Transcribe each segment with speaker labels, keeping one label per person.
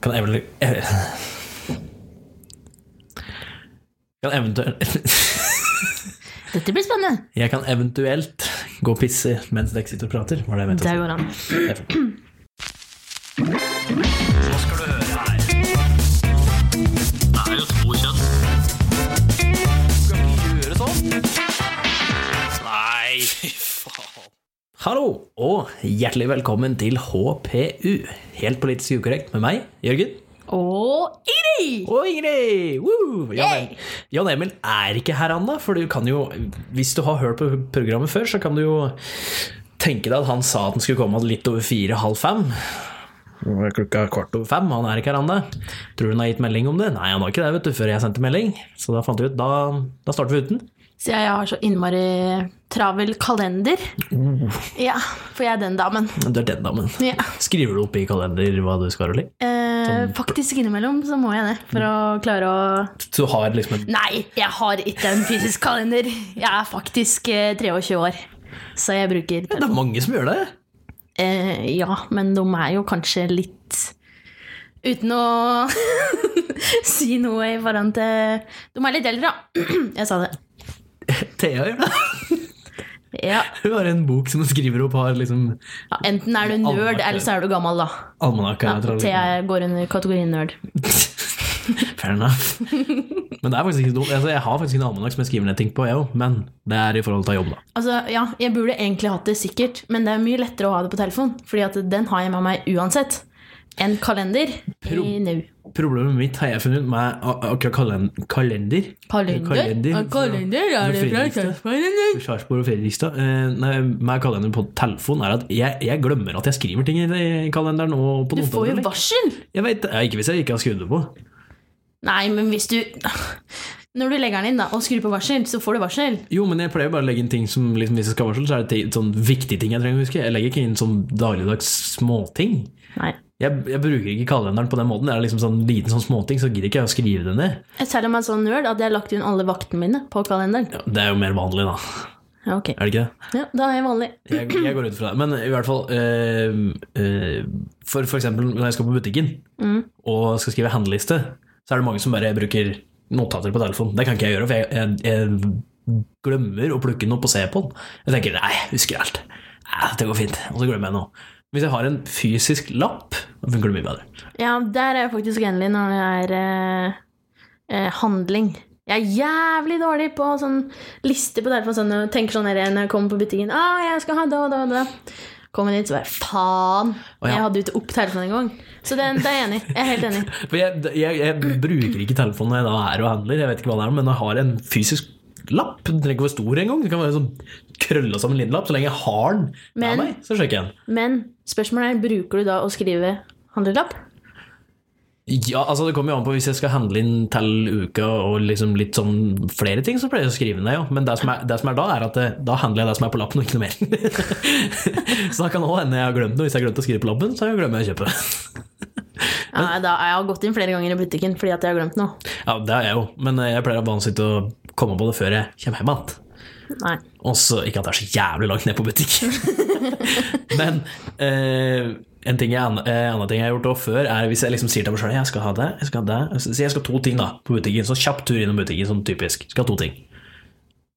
Speaker 1: Kan eventuelt Kan eventuelt
Speaker 2: Dette blir spennende.
Speaker 1: Jeg kan eventuelt gå og pisse mens dere sitter og prater. Var det jeg mente
Speaker 2: Der går han.
Speaker 1: å si.
Speaker 3: sånn? Nei, fy faen.
Speaker 1: Hallo, og hjertelig velkommen til HPU. Helt politisk ukorrekt med meg, Jørgen.
Speaker 2: Og Ingrid!
Speaker 1: Og Ingrid! Woo! Jan,
Speaker 2: Yay!
Speaker 1: Emil. Jan Emil er ikke her ennå, for du kan jo Hvis du har hørt på programmet før, så kan du jo tenke deg at han sa at han skulle komme litt over fire-halv fem. Nå er Klokka kvart over fem, han er ikke her ennå. Tror du han har gitt melding om det? Nei, han har ikke det, vet du, før jeg sendte melding. Så da fant vi ut Da, da starter vi uten.
Speaker 2: Så jeg har så innmari travel kalender. Ja, for jeg er den damen.
Speaker 1: Men Du er den damen.
Speaker 2: Ja.
Speaker 1: Skriver du opp i kalender hva du skal, eller?
Speaker 2: Eh, faktisk innimellom så må jeg det, for å klare å
Speaker 1: Så du har liksom en
Speaker 2: Nei, jeg har ikke en fysisk kalender. Jeg er faktisk eh, 23 år, så jeg bruker
Speaker 1: Det er mange som gjør det.
Speaker 2: eh, Ja, men de er jo kanskje litt Uten å si noe i forhold til De er litt eldre, da. Jeg sa det.
Speaker 1: Thea gjør det.
Speaker 2: Ja.
Speaker 1: Hun har en bok som hun skriver opp, har liksom
Speaker 2: ja, Enten er du nerd,
Speaker 1: Almanak.
Speaker 2: eller så er du gammel, da.
Speaker 1: almanakk.
Speaker 2: Ja,
Speaker 1: her, tror jeg.
Speaker 2: Thea går under kategorien nerd.
Speaker 1: Fair enough. Men det er faktisk ikke dumt. Altså, jeg har faktisk en almanakk som jeg skriver ned ting på, jeg òg. Men det er i forhold til jobb, da.
Speaker 2: Altså, ja, jeg burde egentlig hatt det sikkert, men det er mye lettere å ha det på telefon, fordi at den har jeg med meg uansett. En kalender
Speaker 1: Pro-
Speaker 2: i nu.
Speaker 1: Problemet mitt har jeg funnet ut med ak- akkurat kalen kalender.
Speaker 2: Kalender? Ja, kalender,
Speaker 1: fra-
Speaker 2: er det fra
Speaker 1: Fredrikstad.
Speaker 2: Sarpsborg?
Speaker 1: Sarpsborg og Fredrikstad. Eh, Nei, med kalender på telefon er at jeg, jeg glemmer at jeg skriver ting i i kalenderen. Og på
Speaker 2: Du
Speaker 1: notater,
Speaker 2: får jo
Speaker 1: eller?
Speaker 2: varsel!
Speaker 1: Jeg vet det. Ja, Ikke hvis jeg ikke har skrudd det på.
Speaker 2: Nei, men hvis du Når du legger den inn da, og skrur på varsel, så får du varsel.
Speaker 1: Jo, men jeg pleier bare å legge inn ting som liksom, Hvis jeg skal ha varsel, så er det ti- sånn viktige ting jeg trenger å huske. Jeg legger ikke inn sånn dagligdags småting.
Speaker 2: Nei.
Speaker 1: Jeg, jeg bruker ikke kalenderen på den måten. Det er liksom sånn liten sånn småting, så gidder ikke jeg å skrive det ned.
Speaker 2: Jeg selv om jeg er sånn nerd at jeg har lagt inn alle vaktene mine på kalenderen.
Speaker 1: Ja, Det er jo mer vanlig, da.
Speaker 2: Ja, ok.
Speaker 1: Er det ikke det?
Speaker 2: Ja, da er jeg vanlig.
Speaker 1: Jeg, jeg går ut fra det. Men i hvert fall eh, eh, for, for eksempel når jeg skal på butikken og skal skrive handleliste, så er det mange som bare bruker notater på telefonen. Det kan ikke jeg gjøre, for jeg, jeg, jeg glemmer å plukke den opp og se på den. Jeg tenker nei, jeg husker alt. Nei, det går fint. Og så glemmer jeg noe. Hvis jeg har en fysisk lapp, da funker det mye bedre.
Speaker 2: Ja, der er jeg faktisk enig når det er eh, eh, handling. Jeg er jævlig dårlig på sånn liste på derfor sånn, og tenker sånn her når jeg kommer på butikken. Ah, jeg skal ha da og da og da. Kommer dit, så bare faen.
Speaker 1: Å, ja.
Speaker 2: Jeg hadde jo ikke opp telefonen engang. Så det, det er jeg enig i. Jeg er helt enig.
Speaker 1: For jeg, jeg, jeg bruker ikke telefonen når jeg da er og handler, jeg vet ikke hva det er, men jeg har en fysisk lapp. Den trenger ikke være stor engang. Det kan være sånn krølla sammen liten lapp. Så lenge jeg har den
Speaker 2: Men-
Speaker 1: med meg, så sjekker jeg den.
Speaker 2: Men spørsmålet er, bruker du da å skrive handlelapp?
Speaker 1: Ja, altså Det kommer jo an på hvis jeg skal handle inn til uka og liksom litt sånn flere ting, så pleier jeg å skrive ned, jo. Men det som er, det som er da, er at det, da handler jeg det som er på lappen, og ikke noe mer. så da kan det òg hende jeg har glemt noe. Hvis jeg har glemt å skrive på lappen, så glemmer jeg å kjøpe.
Speaker 2: Ja, nei, da jeg har gått inn flere ganger i butikken fordi at jeg har glemt noe.
Speaker 1: Ja, det har jeg jo, men eh, jeg pleier å vanskelig å komme på det før jeg kommer hjem igjen.
Speaker 2: Nei.
Speaker 1: Og så, ikke at det er så jævlig langt ned på butikken. Men eh, en ting jeg, eh, annen ting jeg har gjort også før, er hvis jeg liksom sier til meg sjøl jeg skal ha det, jeg skal ha det Så sier jeg jeg skal ha to ting da på butikken. Sånn kjapp tur innom butikken, sånn typisk. Skal ha to ting.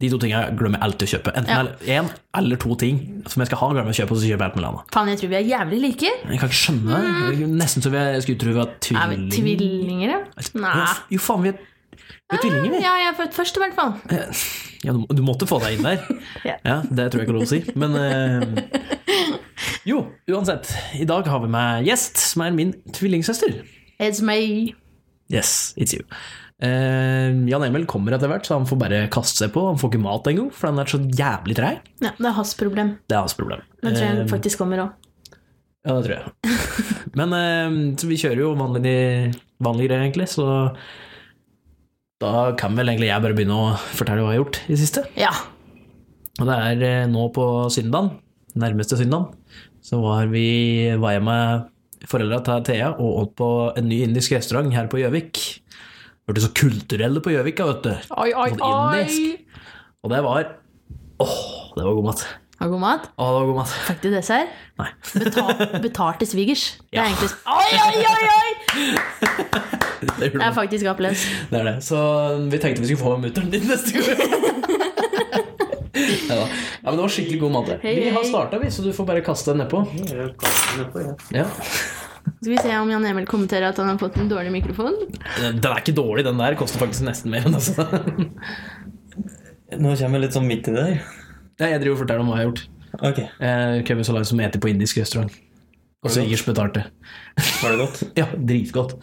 Speaker 1: De to tingene glemmer jeg alltid å kjøpe. Enten
Speaker 2: Ja.
Speaker 1: eller- en eller to ting som jeg skal ha, glemmer jeg å kjøpe, og så kjøper jeg alt mulig annet.
Speaker 2: Faen, jeg tror vi er jævlig like.
Speaker 1: Jeg kan ikke skjønne det. Jeg- Nesten så jeg skulle tro vi var
Speaker 2: Er vi
Speaker 1: tvillinger.
Speaker 2: tvillinger, ja? Nei. Ah,
Speaker 1: Jo, faen, vi er, vi er tvillinger, vi.
Speaker 2: Ja, jeg er født først i hvert fall.
Speaker 1: Ja, du, du måtte få deg inn der.
Speaker 2: Ja.
Speaker 1: Ja, Det tror jeg ikke er lov å si. Men eh, jo, uansett. I dag har vi med gjest, som er min tvillingsøster.
Speaker 2: It's me.
Speaker 1: Yes, it's you. Eh, Jan Emil kommer etter hvert, så han får bare kaste seg på. Han får ikke mat engang, for han er så jævlig treig.
Speaker 2: Ja, det er hans problem.
Speaker 1: Det er hans problem.
Speaker 2: Men tror jeg
Speaker 1: Eh,
Speaker 2: faktisk kommer òg.
Speaker 1: ja, det tror jeg. Men eh, så vi kjører jo vanlig, vanlig greier, egentlig, så da kan vel egentlig jeg bare begynne å fortelle hva jeg har gjort i det siste.
Speaker 2: Ja.
Speaker 1: Og det er eh, nå på søndagen, nærmeste søndagen, så var, vi, var jeg med foreldra til Thea og åt på en ny indisk restaurant her på Gjøvik. Ble så kulturelle på Gjøvik, da, vet du.
Speaker 2: Oi, oi,
Speaker 1: Sånn indisk. Og det var Åh, det var god mat.
Speaker 2: Har god mat.
Speaker 1: Å, det var god mat.
Speaker 2: Fikk du dessert?
Speaker 1: Nei.
Speaker 2: Beta betalte svigers. Det
Speaker 1: Ja.
Speaker 2: er egentlig Oi, oi, oi! oi!
Speaker 1: Det gjorde
Speaker 2: Jeg er
Speaker 1: man.
Speaker 2: faktisk applaus.
Speaker 1: Det er det. Så mm, vi tenkte vi skulle få mutter'n din neste gang. Neida. Ja, men det var skikkelig god mat.
Speaker 2: Hei,
Speaker 1: Vi har
Speaker 2: hei.
Speaker 1: starta, vi, så du får bare kaste den nedpå.
Speaker 3: Jeg kaster den nedpå, jeg.
Speaker 1: Ja.
Speaker 2: Skal vi se om Jan Emil kommenterer at han har fått en dårlig mikrofon.
Speaker 1: Den den er ikke dårlig, den der. Koster faktisk nesten mer enn altså.
Speaker 4: Nå kommer jeg litt sånn midt i det her.
Speaker 1: Ja, jeg driver og forteller om hva jeg har gjort.
Speaker 4: Ok,
Speaker 1: Eh, Kevin Solai som eter på indisk restaurant. Og svigers betalte.
Speaker 4: var det godt?
Speaker 1: Ja, dritgodt.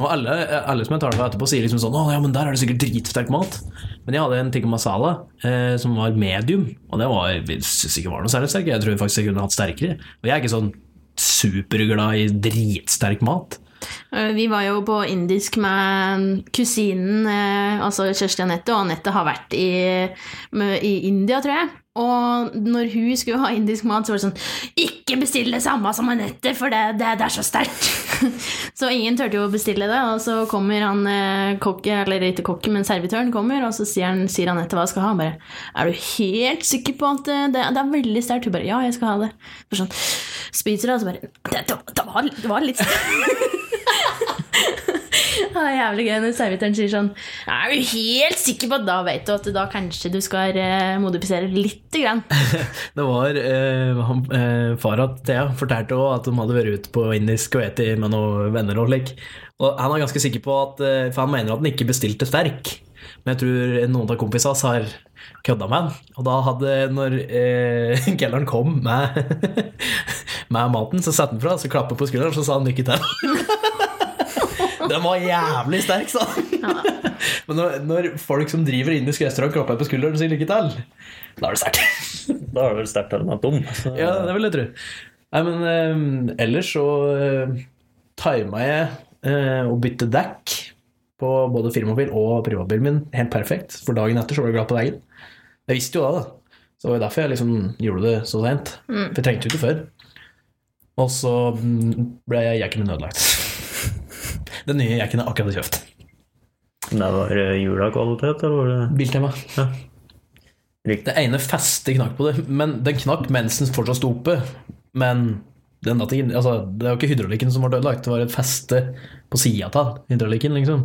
Speaker 1: Og alle, alle som jeg tar det med etterpå, sier liksom sånn Å ja, men der er det sikkert dritsterk mat. Men jeg hadde en tikka masala eh, som var medium, og det var, jeg synes ikke var noe særlig sterk. Jeg tror faktisk jeg kunne hatt sterkere. Og jeg er ikke sånn superglad i dritsterk mat.
Speaker 2: Eh, Vi var jo på indisk med kusinen, eh, altså Kjersti Anette, og Anette har vært i, med- i India, tror jeg. Og når hun skulle ha indisk mat, så var det sånn Ikke bestill det samme som Anette, for det, det, det er så sterkt! så ingen turte jo å bestille det, og så kommer han eh, kokken, eller ikke kokken, men servitøren kommer, og så sier, han, sier Anette hva jeg skal ha. Han bare Er du helt sikker på at eh, det, det er veldig sterkt? Hun bare Ja, jeg skal ha det. Så sånn, Spiser det, og så bare Det, det, var- det, var, det var litt sterkt. Ja, Det er jævlig gøy når servitøren sier sånn Er du helt sikker på at da vet du at da kanskje du skal eh, modifisere litt grann?
Speaker 1: Det var eh, han, eh, fara til Thea fortalte også at de hadde vært ute på indisk og eti med noen venner og slik. Og han er ganske sikker på at eh, For han mener at han ikke bestilte sterk. Men jeg tror noen av kompisene hans har kødda med han. Og da hadde, når eh, kelneren kom med, med maten, så satte han fra, så klappet på skulderen, så sa han lykke til. Den var jævlig sterk, sa han. Men når, når folk som driver indisk restaurant, klapper på skulderen og sier lykke til, da er det sterkt.
Speaker 4: Da er det vel sterkt at den er dum. Så,
Speaker 1: Ja, det vil jeg tro. Nei, men eh, ellers så uh, tima jeg eh, å bytte dekk på både firmabil og privatbilen min helt perfekt, for dagen etter så var jeg glad på veien. Jeg visste jo det, da. Så det var jo derfor jeg liksom gjorde det så sent. For jeg trengte jo ikke før. Og så mm, ble jeg jakken min ødelagt. Den nye jakken jeg akkurat har kjøpt.
Speaker 4: Men Det var eh, julakvalitet, eller var det
Speaker 1: Biltema.
Speaker 4: Ja.
Speaker 1: Det ene feste knakk på det, men den knakk mens den fortsatt sto oppe. Men den datt ikke inn- altså, det var ikke hydraulikken som var ødelagt, det var et feste på sida av den, hydraulikken, liksom.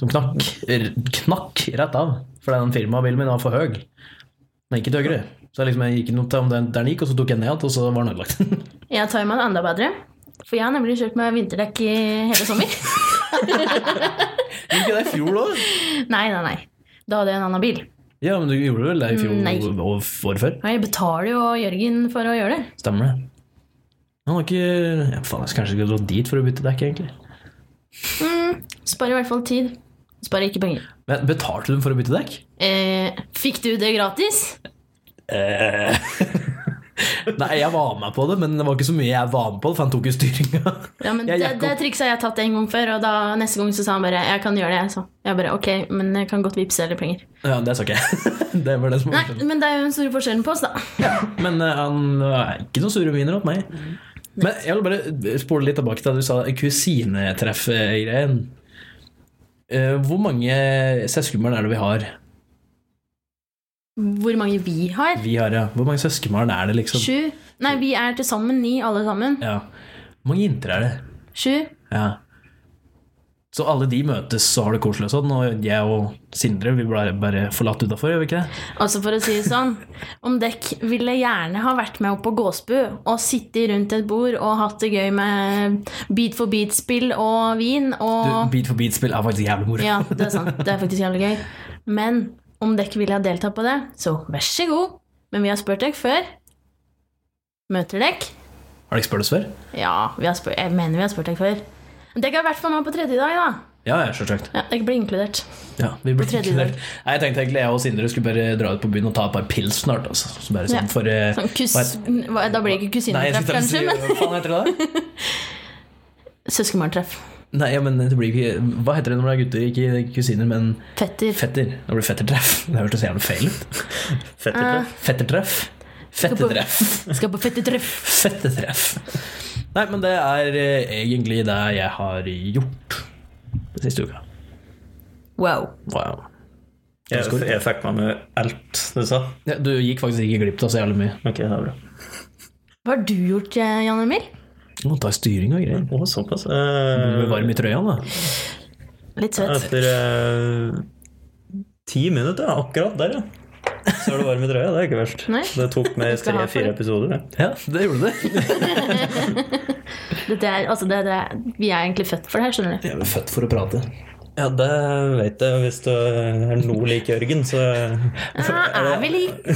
Speaker 1: Som knakk, r- knakk rett av. For den firmabilen min var for høy. Den gikk ikke til høyre. Så jeg liksom, jeg gikk noe til om den, der den gikk, og så tok jeg den ned igjen, og så var den ødelagt.
Speaker 2: Jeg tar meg en enda bedre. For jeg har nemlig kjørt med vinterdekk i hele sommer.
Speaker 1: Gikk det i fjor òg?
Speaker 2: Nei, nei, nei. Da hadde jeg en annen bil.
Speaker 1: Ja, men du gjorde vel det i fjor
Speaker 2: Nei.
Speaker 1: og året før?
Speaker 2: Og jeg betaler jo Jørgen for å gjøre det.
Speaker 1: Stemmer det? Han har ikke ja, Faen, jeg skal kanskje ikke dra dit for å bytte dekk, egentlig.
Speaker 2: Mm, sparer i hvert fall tid. Sparer ikke penger.
Speaker 1: Men Betalte du dem for å bytte dekk?
Speaker 2: Eh, fikk du det gratis?
Speaker 1: Eh, Nei, jeg var med på det, men det var ikke så mye jeg var med på, for han tok jo styringa.
Speaker 2: Ja, men
Speaker 1: Jeg
Speaker 2: det,
Speaker 1: gikk
Speaker 2: det
Speaker 1: opp.
Speaker 2: trikset har jeg tatt en gang før, og da, neste gang så sa han bare 'jeg kan gjøre det', jeg, så. Jeg bare 'ok, men jeg kan godt vippse eller penger'.
Speaker 1: Ja, det sa ikke jeg. Det var det som var
Speaker 2: Nei,
Speaker 1: forskjellen.
Speaker 2: men det er jo den store forskjellen på oss, da.
Speaker 1: Men eh, han er ikke noen sure miner åt meg.
Speaker 2: Mm.
Speaker 1: Men jeg vil bare spole litt tilbake til det du sa, kusinetreff-greien. Eh, Hvor mange søskenbarn er det vi har?
Speaker 2: Hvor mange vi har?
Speaker 1: Vi har, ja. Hvor mange søskenbarn er det, liksom?
Speaker 2: Sju? Nei, vi er til sammen ni, alle sammen.
Speaker 1: Ja. Hvor mange jenter er det?
Speaker 2: Sju?
Speaker 1: Ja. Så alle de møtes og har det koselig og sånn, og jeg og Sindre vi ble bare forlatt utafor, gjør vi ikke det?
Speaker 2: Altså for å si det sånn, om dekk ville gjerne ha vært med opp på Gåsbu og sittet rundt et bord og hatt det gøy med beat for beat-spill og vin
Speaker 1: Du,
Speaker 2: og
Speaker 1: beat for beat-spill er faktisk jævlig moro.
Speaker 2: Ja, det er sant. Det er faktisk jævlig gøy. Men om dekk ville ha deltatt på det, så vær så god. Men vi har spurt dere før. Møter dekk?
Speaker 1: Har dere spurt oss før?
Speaker 2: Ja, vi har spurt, jeg mener vi har spurt dere før. Dekk er i hvert fall med på tredje dag, da.
Speaker 1: Ja, ja, selvsagt.
Speaker 2: Ja, Dekk blir inkludert.
Speaker 1: Ja, vi blir
Speaker 2: tredje
Speaker 1: inkludert. Nei, jeg tenkte egentlig jeg og Sindre skulle bare dra ut på byen og ta et par pils snart. Altså. Så bare sånn
Speaker 2: Ja.
Speaker 1: for eh,
Speaker 2: Sånn kus,
Speaker 1: hva het-
Speaker 2: hva, da blir det ikke
Speaker 1: Nei, jeg skulle
Speaker 2: kusinetreff, kanskje,
Speaker 1: til å si-
Speaker 2: men
Speaker 1: Hva faen heter det da?
Speaker 2: søskenbarntreff.
Speaker 1: Nei, ja, men det blir ikke Hva heter det når det er gutter? Ikke kusiner, men
Speaker 2: Fetter.
Speaker 1: fetter. Det blir fettertreff. Det hørtes jævlig feil ut.
Speaker 4: fett
Speaker 2: Eh.
Speaker 4: eller?
Speaker 1: Fettertreff. Fettetreff.
Speaker 2: Skal på fettetreff.
Speaker 1: Fettetreff. Nei, men det er eh, egentlig det jeg har gjort den siste uka.
Speaker 2: Wow.
Speaker 1: Wow.
Speaker 4: Jeg, jeg fikk med meg alt du sa.
Speaker 1: Ja, du gikk faktisk ikke glipp av så jævlig mye.
Speaker 4: Ok, det er bra.
Speaker 2: Hva har du gjort, eh, Jan Emil?
Speaker 1: Du må ta styring og greier.
Speaker 4: Å, såpass.
Speaker 1: Du
Speaker 4: Eh,
Speaker 1: blir varm i trøya, da.
Speaker 2: Litt søt.
Speaker 4: Etter eh, ti minutter, ja, akkurat der, ja. Så er du varm i trøya. Det er ikke verst.
Speaker 2: Nei.
Speaker 4: Det tok meg
Speaker 2: skal ha for
Speaker 4: tre-fire
Speaker 2: det.
Speaker 4: episoder. det.
Speaker 1: Ja, det gjorde det.
Speaker 2: Dette er, altså, det, det, vi er egentlig født for det her, skjønner du.
Speaker 1: Jeg er født for å prate.
Speaker 4: Ja, det vet jeg. Hvis du er noe lik Jørgen, så
Speaker 2: Ja, Ah, er vi like?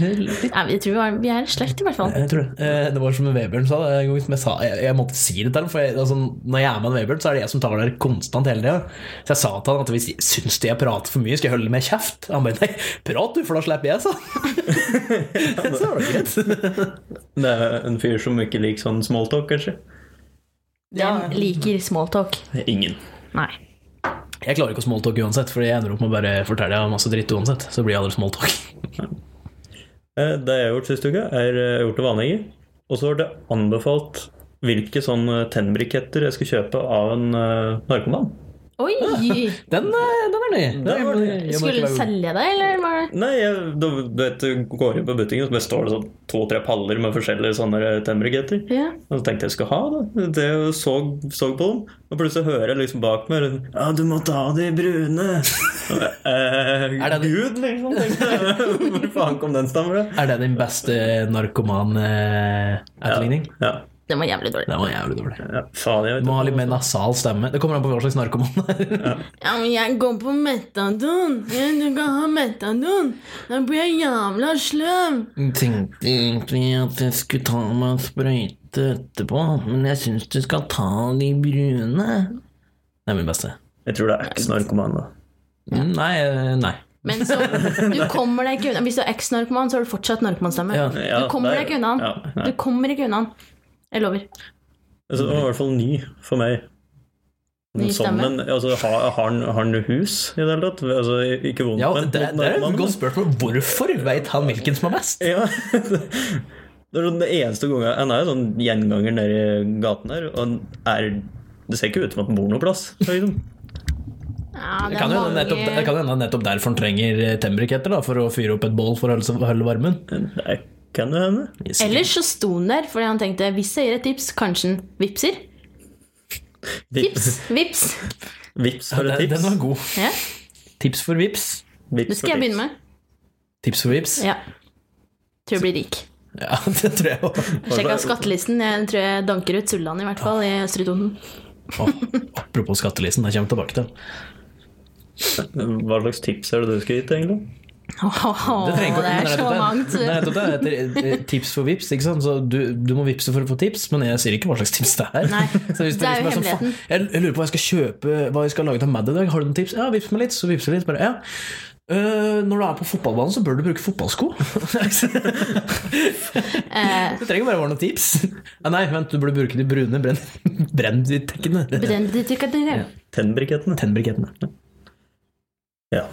Speaker 2: Ja, vi tror vi er- vi er i slekt, i hvert fall.
Speaker 1: Jeg tror det. Eh, Det var som Vebjørn sa, det en gang som jeg, sa jeg, jeg måtte si det til ham. For jeg, altså, når jeg er med Vebjørn, så er det jeg som tar det her konstant hele tida. Så jeg sa til han at hvis jeg syns de jeg prater for mye, skal jeg holde meg kjeft. Han bare nei, prat du, for da slipper jeg, sa han. Så var det greit.
Speaker 4: Det er en fyr som ikke liker sånn smalltalk, kanskje?
Speaker 2: Hvem liker smalltalk?
Speaker 4: Ingen.
Speaker 2: Nei.
Speaker 1: Jeg klarer ikke å smalltalk uansett, for jeg ender opp med å bare fortelle deg masse dritt uansett. Så blir jeg aldri smalltalk.
Speaker 4: Eh, Det jeg har gjort siste uke, er eh, gjort det vanlige. Og så har det anbefalt hvilke sånne tennbriketter jeg skal kjøpe av en eh, narkoman.
Speaker 2: Oi!
Speaker 1: Den, eh, den er ny.
Speaker 4: Den var ny.
Speaker 1: Jeg må- jeg må
Speaker 2: Skulle
Speaker 1: ikke
Speaker 2: du
Speaker 1: være-
Speaker 2: selge deg, eller var det
Speaker 4: Nei, jeg, du, du vet, du går inn på butikken, og så bare står det sånn to-tre paller med forskjellige sånne tennbriketter.
Speaker 2: Ja.
Speaker 4: Og så tenkte jeg jeg skulle ha det. Det jeg så, så på dem. Og plutselig hører jeg liksom bak meg Ja, du må ta de brune. Og jeg, eh,
Speaker 1: Er det-
Speaker 4: Gud, liksom. tenkte jeg. Hvor faen kom den stammen fra?
Speaker 1: Er det din beste narkoman-etterligning?
Speaker 4: Ja.
Speaker 2: Den var jævlig dårlig.
Speaker 1: Den var jævlig dårlig.
Speaker 4: ja, faen, jeg
Speaker 1: Du
Speaker 4: vet
Speaker 1: må ha
Speaker 4: ikke.
Speaker 1: litt mer nasal stemme. Det kommer an på hva slags narkoman det er.
Speaker 2: Ja, men jeg går på metadon. Ja, Du kan ha metadon. Da blir jeg jævla sløv.
Speaker 5: tenkte egentlig at jeg skulle ta meg en sprøyte etterpå, men jeg syns du skal ta de brune.
Speaker 1: Det er min beste.
Speaker 4: Jeg tror det er eks-narkoman, da.
Speaker 1: Mm, Nei, eh, nei.
Speaker 2: Men så, du kommer deg ikke unna. Hvis du er eks-narkoman, så har du fortsatt narkomanstemme.
Speaker 1: Ja.
Speaker 4: Ja,
Speaker 2: du kommer
Speaker 4: det
Speaker 2: deg
Speaker 4: er-
Speaker 2: ikke unna.
Speaker 4: Ja,
Speaker 2: Du
Speaker 4: nei.
Speaker 2: kommer ikke unna. Jeg lover.
Speaker 4: Altså, det var i hvert fall ny for meg.
Speaker 2: Ny
Speaker 4: Som
Speaker 2: stemme.
Speaker 4: en, altså, har, har, han- har han hus i det hele tatt? Altså, ikke vondt,
Speaker 1: Ja,
Speaker 4: men
Speaker 1: det, det
Speaker 4: mot
Speaker 1: er
Speaker 4: narkomanen,
Speaker 1: et godt spørsmål. Hvorfor veit han hvilken som er best?
Speaker 4: Ja. Det er sånn det eneste gangen Han er jo sånn gjenganger nede i gaten her, og han er Det ser ikke ut som at han bor noe plass. Liksom.
Speaker 2: Ja,
Speaker 1: Det kan jo hende nettopp, det kan jo hende nettopp derfor han trenger eh, tennbriketter, da, for å fyre opp et bål for å holde- holde varmen.
Speaker 4: Det kan jo hende.
Speaker 2: Ellers så sto han der fordi han tenkte hvis jeg gir et tips, kanskje han vipser. Tips,
Speaker 4: Vips,
Speaker 2: vips.
Speaker 4: vips
Speaker 1: Ja,
Speaker 4: for et
Speaker 1: den,
Speaker 4: tips.
Speaker 1: den var god.
Speaker 2: Ja,
Speaker 1: Tips for vips.
Speaker 4: Vips
Speaker 2: det skal jeg begynne med.
Speaker 1: Tips for vips?
Speaker 2: Ja. Tror jeg blir rik.
Speaker 1: Ja, det tror jeg òg.
Speaker 2: Sjekka skattelisten. Jeg tror jeg danker ut Sulland, i hvert fall, i Østre Toten.
Speaker 1: Apropos skattelisten, jeg kommer tilbake til den.
Speaker 4: Hva slags tips er det du skal gitt, egentlig?
Speaker 2: Åh,
Speaker 1: trenger ikke å-
Speaker 2: det er så
Speaker 1: men
Speaker 2: mangt.
Speaker 1: det er nettopp det. Det er nettopp det. Etter- Tips for vips, ikke sant. Så du, du må vipse for å få tips, men jeg sier ikke hva slags tips det er.
Speaker 2: Nei,
Speaker 1: Så hvis
Speaker 2: det er jo
Speaker 1: liksom sånn, faen,
Speaker 2: hemmeligheten.
Speaker 1: jeg, jeg lurer på hva jeg skal kjøpe, hva jeg skal lage til mad i dag. Har du noen tips? Ja, vips meg litt. Så vipser jeg litt. Bare, ja. Eh, når du er på fotballbanen, så bør du bruke fotballsko. det
Speaker 2: Eh,
Speaker 1: trenger bare å være noen tips. Ja, nei, vent, du burde bruke de brune brenn- brenntekkene.
Speaker 2: brennte du ikke at dere-
Speaker 4: Tennbrikettene.
Speaker 1: Tennbrikettene.
Speaker 4: Ja.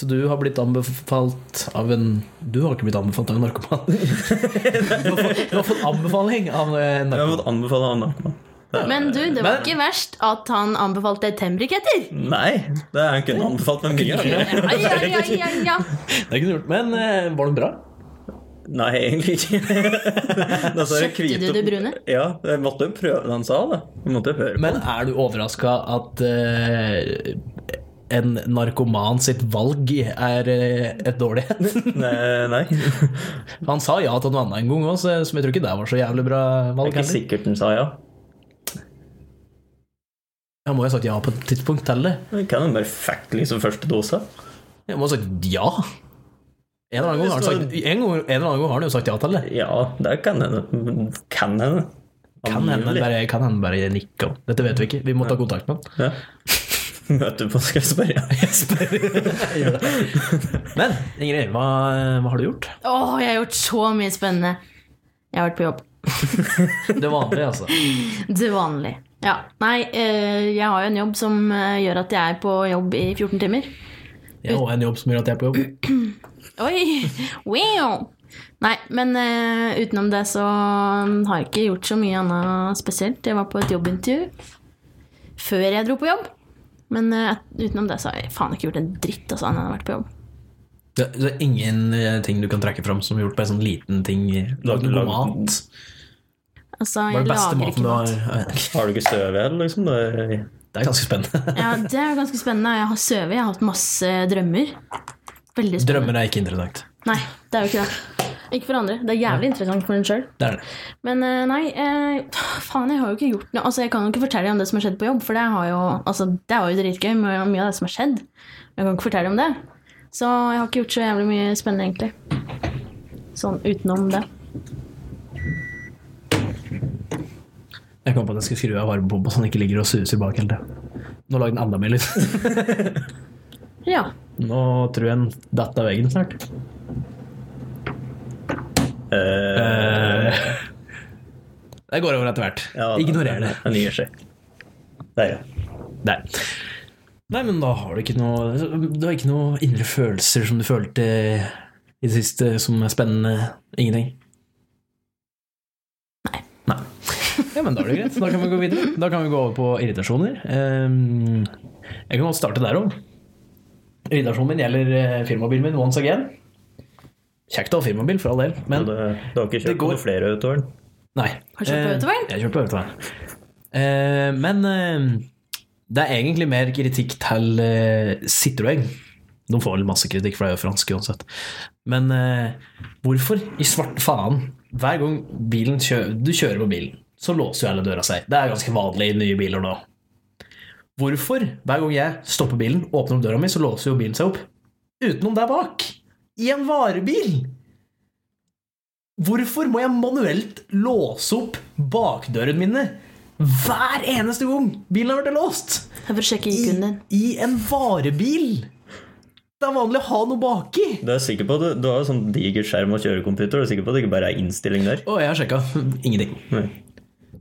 Speaker 1: Så du har blitt anbefalt av en Du har ikke blitt anbefalt av en narkoman. Du har fått, du har fått anbefaling av en
Speaker 4: Jeg har
Speaker 1: narkoman.
Speaker 4: fått anbefale han narkoman.
Speaker 2: Men du, det var ikke verst at han anbefalte tennbriketter.
Speaker 4: Nei, det er han kunne anbefalt meg mye.
Speaker 2: Ja,
Speaker 4: eller?
Speaker 2: ja, ja, ja, ja.
Speaker 1: Det kunne du gjort. Men eh, var den bra?
Speaker 4: Nei, egentlig ikke. Da sa jeg
Speaker 2: Kjøpte du
Speaker 4: kvite-
Speaker 2: det brune?
Speaker 4: Ja, jeg måtte jo prøve det han sa, da. Jeg måtte jo høre på.
Speaker 1: Men er du overraska at eh, en narkoman sitt valg er eh, et dårlighet?
Speaker 4: Nei, nei. Det
Speaker 1: Han sa ja til noe annet en gang òg, så så jeg tror ikke det var så jævlig bra
Speaker 4: er
Speaker 1: valg.
Speaker 4: ikke
Speaker 1: heller.
Speaker 4: sikkert han sa ja.
Speaker 1: Jeg må jo ha sagt ja på et tidspunkt til det.
Speaker 4: Men Kan han bare fact liksom første dose?
Speaker 1: Jeg må ha sagt ja. En eller annen gang har han sagt, en gang, en eller annen gang har han jo sagt ja til det.
Speaker 4: Ja, det kan hende. Men Kan hende.
Speaker 1: Kan hende han bare, kan hende bare nikke. og- Dette vet vi ikke. Vi må ta kontakt med han.
Speaker 4: Ja. Møte på skal jeg spørre.
Speaker 1: Men Ingrid, hva, hva har du gjort?
Speaker 2: Åh, jeg har gjort så mye spennende. Jeg har vært på jobb.
Speaker 1: Det vanlige, altså.
Speaker 2: Det vanlige. Ja. Nei, eh, jeg har jo en jobb som eh, gjør at jeg er på jobb i 14 timer.
Speaker 1: Jeg har en jobb som gjør at jeg er på jobb.
Speaker 2: Oi! Wow! Nei, men eh, utenom det så har jeg ikke gjort så mye annet spesielt. Jeg var på et jobbintervju før jeg dro på jobb. Men eh, utenom det så har jeg faen ikke gjort en dritt altså, annet enn å ha vært på jobb.
Speaker 1: Det, det er ingen eh, ting du kan trekke fram som er gjort på en sånn liten ting? Lagd noe
Speaker 4: Lag- lag-
Speaker 1: mat?
Speaker 2: Altså,
Speaker 1: Hva er
Speaker 2: jeg
Speaker 1: den beste
Speaker 2: lager
Speaker 1: maten
Speaker 2: ikke
Speaker 1: du
Speaker 2: mat.
Speaker 1: har Det
Speaker 4: Har du ikke støv igjen, liksom? Det er,
Speaker 1: er ganske spennende.
Speaker 2: Ja, det er ganske spennende. Jeg har sovet, jeg har hatt masse drømmer. Veldig spennende.
Speaker 1: Drømmer er ikke interessant.
Speaker 2: Nei, det er jo ikke det. Ikke for andre. Det er jævlig interessant for en sjøl.
Speaker 1: Det er det.
Speaker 2: Men eh, nei, eh, faen, jeg har jo ikke gjort noe. Altså, Jeg kan jo ikke fortelle om det som har skjedd på jobb, for det, har jo, altså, det er jo dritgøy. med Mye av det som har skjedd. Men jeg kan ikke fortelle om det. Så jeg har ikke gjort så jævlig mye spennende, egentlig. Sånn utenom det.
Speaker 1: Jeg kom på at jeg skulle skru av varmepumpa så den ikke ligger og suser bak hele tida. Nå lagde den enda mer lyd.
Speaker 2: Ja.
Speaker 1: Nå tror jeg den datt av veggen snart.
Speaker 4: eh,
Speaker 1: Eh, det går over etter hvert.
Speaker 4: ja,
Speaker 1: Ignorer det.
Speaker 4: Den gir seg. Der, ja.
Speaker 1: Nei. Nei, men da har du ikke noe Du har ikke noe indre følelser som du følte i det siste som er spennende? Ingenting? Nei. Ja, men da er det greit. Da kan vi gå videre. Da kan vi gå over på irritasjoner. Ehm, Jeg kan godt starte der òg. Irritasjonen min gjelder eh, firmabilen min once again. Kjekt å ha firmabil, for all del, men
Speaker 4: Du, du har ikke
Speaker 1: Det
Speaker 4: kjøpt
Speaker 1: går-
Speaker 4: noen flere utover den?
Speaker 1: Nei.
Speaker 2: Har du kjørt på
Speaker 1: Eh,
Speaker 2: autoveien?
Speaker 1: Jeg har kjørt på autoveien. Eh, men eh, det er egentlig mer kritikk til eh, Citroën. De får vel masse kritikk, for det er jo fransk uansett. Men eh, hvorfor i svarte faen Hver gang bilen kjø du kjører på bilen, så låser jo alle døra seg. Det er ganske vanlig i nye biler nå. Hvorfor hver gang jeg stopper bilen, åpner opp døra mi, så låser jo bilen seg opp? Utenom der bak! I en varebil! Hvorfor må jeg manuelt låse opp bakdørene mine hver eneste gang bilen har vært låst?
Speaker 2: Jeg får sjekke IQ-en din.
Speaker 1: I en varebil! Det er vanlig å ha noe baki.
Speaker 4: Du er sikker på at du, du har jo sånn diger skjerm og kjørekomputer, du er sikker på at det ikke bare er innstilling der?
Speaker 1: Og jeg har sjekka. Ingenting.
Speaker 4: Nei.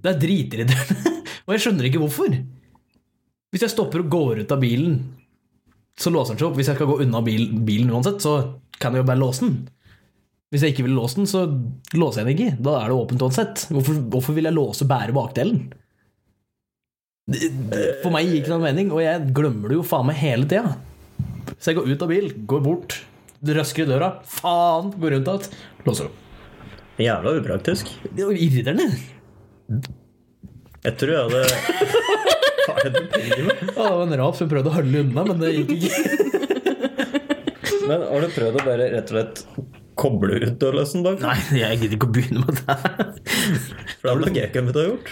Speaker 1: Det er dritirriterende. Og jeg skjønner ikke hvorfor. Hvis jeg stopper og går ut av bilen, så låser den seg opp. Hvis jeg skal gå unna bil, bilen uansett, så kan jeg jo bare låse den. Hvis jeg ikke vil låse den, så låser jeg den ikke. Da er det åpent uansett. Hvorfor, hvorfor vil jeg låse bare bakdelen? Det- det- For meg gir ikke noen mening, og jeg glemmer det jo faen meg hele tida. Så jeg går ut av bil, går bort, røsker i døra, faen, går rundt igjen, låser opp.
Speaker 4: Jævla upraktisk.
Speaker 1: Det er jo irriterende.
Speaker 4: Jeg tror jeg hadde Hva er det du driver med?
Speaker 1: Å, det var en rap som prøvde å holde unna, men det gikk ikke.
Speaker 4: Men har du prøvd å bare rett og slett koble ut dørløsen bak?
Speaker 1: Nei, jeg gidder ikke å begynne med det her.
Speaker 4: For det er vel det Gekko mitt har gjort?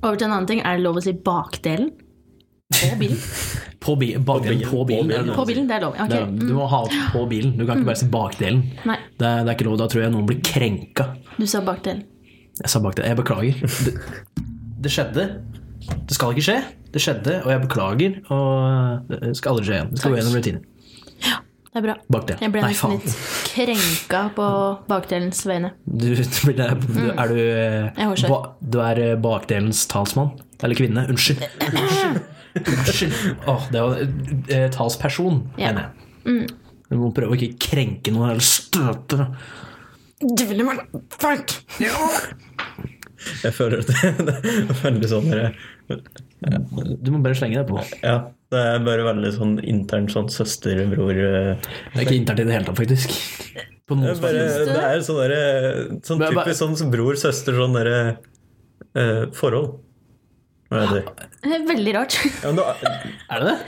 Speaker 2: Over til en annen ting. Er det lov å si bakdelen? På bilen?
Speaker 1: På, bi bakdelen, på bilen. er det lov
Speaker 2: På
Speaker 1: å si.
Speaker 2: bilen, det er lov. Ja,
Speaker 1: Det
Speaker 2: ok.
Speaker 1: er lov. Du må ha på bilen. Du kan ikke bare si bakdelen.
Speaker 2: Mm. Nei.
Speaker 1: Det er, det er ikke lov. Da tror jeg noen blir krenka.
Speaker 2: Du sa bakdelen.
Speaker 1: Jeg sa bakdelen. Jeg beklager. Det, det skjedde. Det skal ikke skje. Det skjedde, og jeg beklager. Og eh, det skal aldri skje igjen. Det skal gå gjennom rutinen.
Speaker 2: Det er bra.
Speaker 1: Bakdelen.
Speaker 2: Jeg ble
Speaker 1: Nei,
Speaker 2: nesten
Speaker 1: faen.
Speaker 2: litt krenka på bakdelens vegne.
Speaker 1: Du, du blir der- du, er du,
Speaker 2: Mm. Jeg har
Speaker 1: eh,
Speaker 2: skjønt.
Speaker 1: ba, du er eh, bakdelens talsmann? Eller kvinne? Unnskyld.
Speaker 2: Eh,
Speaker 1: Unnskyld. Unnskyld. Åh, det var eh, talsperson,
Speaker 2: Ja. Mm.
Speaker 1: mener jeg. Du må prøve å ikke krenke noen eller støte.
Speaker 2: Du ville meg Fuck!
Speaker 4: Jeg føler at det, det er veldig sånn der,
Speaker 1: Du må bare slenge deg på. Det
Speaker 4: Ja, det er bare veldig sånn intern sånn søster-bror eh,
Speaker 1: er ikke internt i det hele tatt, faktisk. På noen
Speaker 4: det er bare, Det er sånn derre Sånn
Speaker 1: Men jeg bare-
Speaker 4: typisk sånn bror-søster sånn derre eh, forhold. Hva er det?
Speaker 2: Veldig rart.
Speaker 4: Ja, men da,
Speaker 1: Er det det?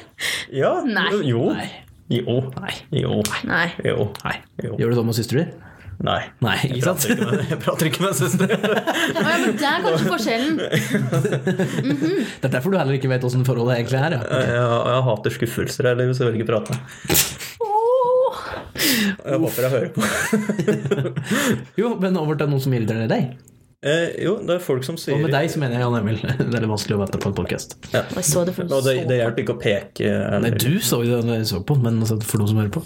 Speaker 4: ja
Speaker 2: Nei.
Speaker 4: jo.
Speaker 1: Nei.
Speaker 4: Jo.
Speaker 1: Nei.
Speaker 4: Jo.
Speaker 2: Nei.
Speaker 4: Jo.
Speaker 1: Nei.
Speaker 4: Jo.
Speaker 1: Gjør du sånn med søsteren din?
Speaker 4: Nei.
Speaker 1: Nei, ikke sant?
Speaker 4: Jeg prater ikke med- Jeg prater ikke med søster.
Speaker 2: Ja, men Det er kanskje forskjellen.
Speaker 1: Det er derfor du heller ikke vet åssen forholdet egentlig er. Ja.
Speaker 4: Jeg, jeg hater skuffelser her, så jeg vil ikke prate.
Speaker 2: Åh.
Speaker 4: Jeg håper jeg hører på.
Speaker 1: Jo, men over til noe som irriterer deg.
Speaker 4: Eh, jo, det er folk som sier
Speaker 1: Og med deg så mener jeg Jan Emil. Det er litt vanskelig å vite på en podkast.
Speaker 2: Jeg så det for
Speaker 4: Og det, det
Speaker 2: så
Speaker 4: hjelper ikke å peke. eh,
Speaker 1: Nei,
Speaker 4: Eller.
Speaker 1: du så jo den jeg så på, men altså, for noen som hører på.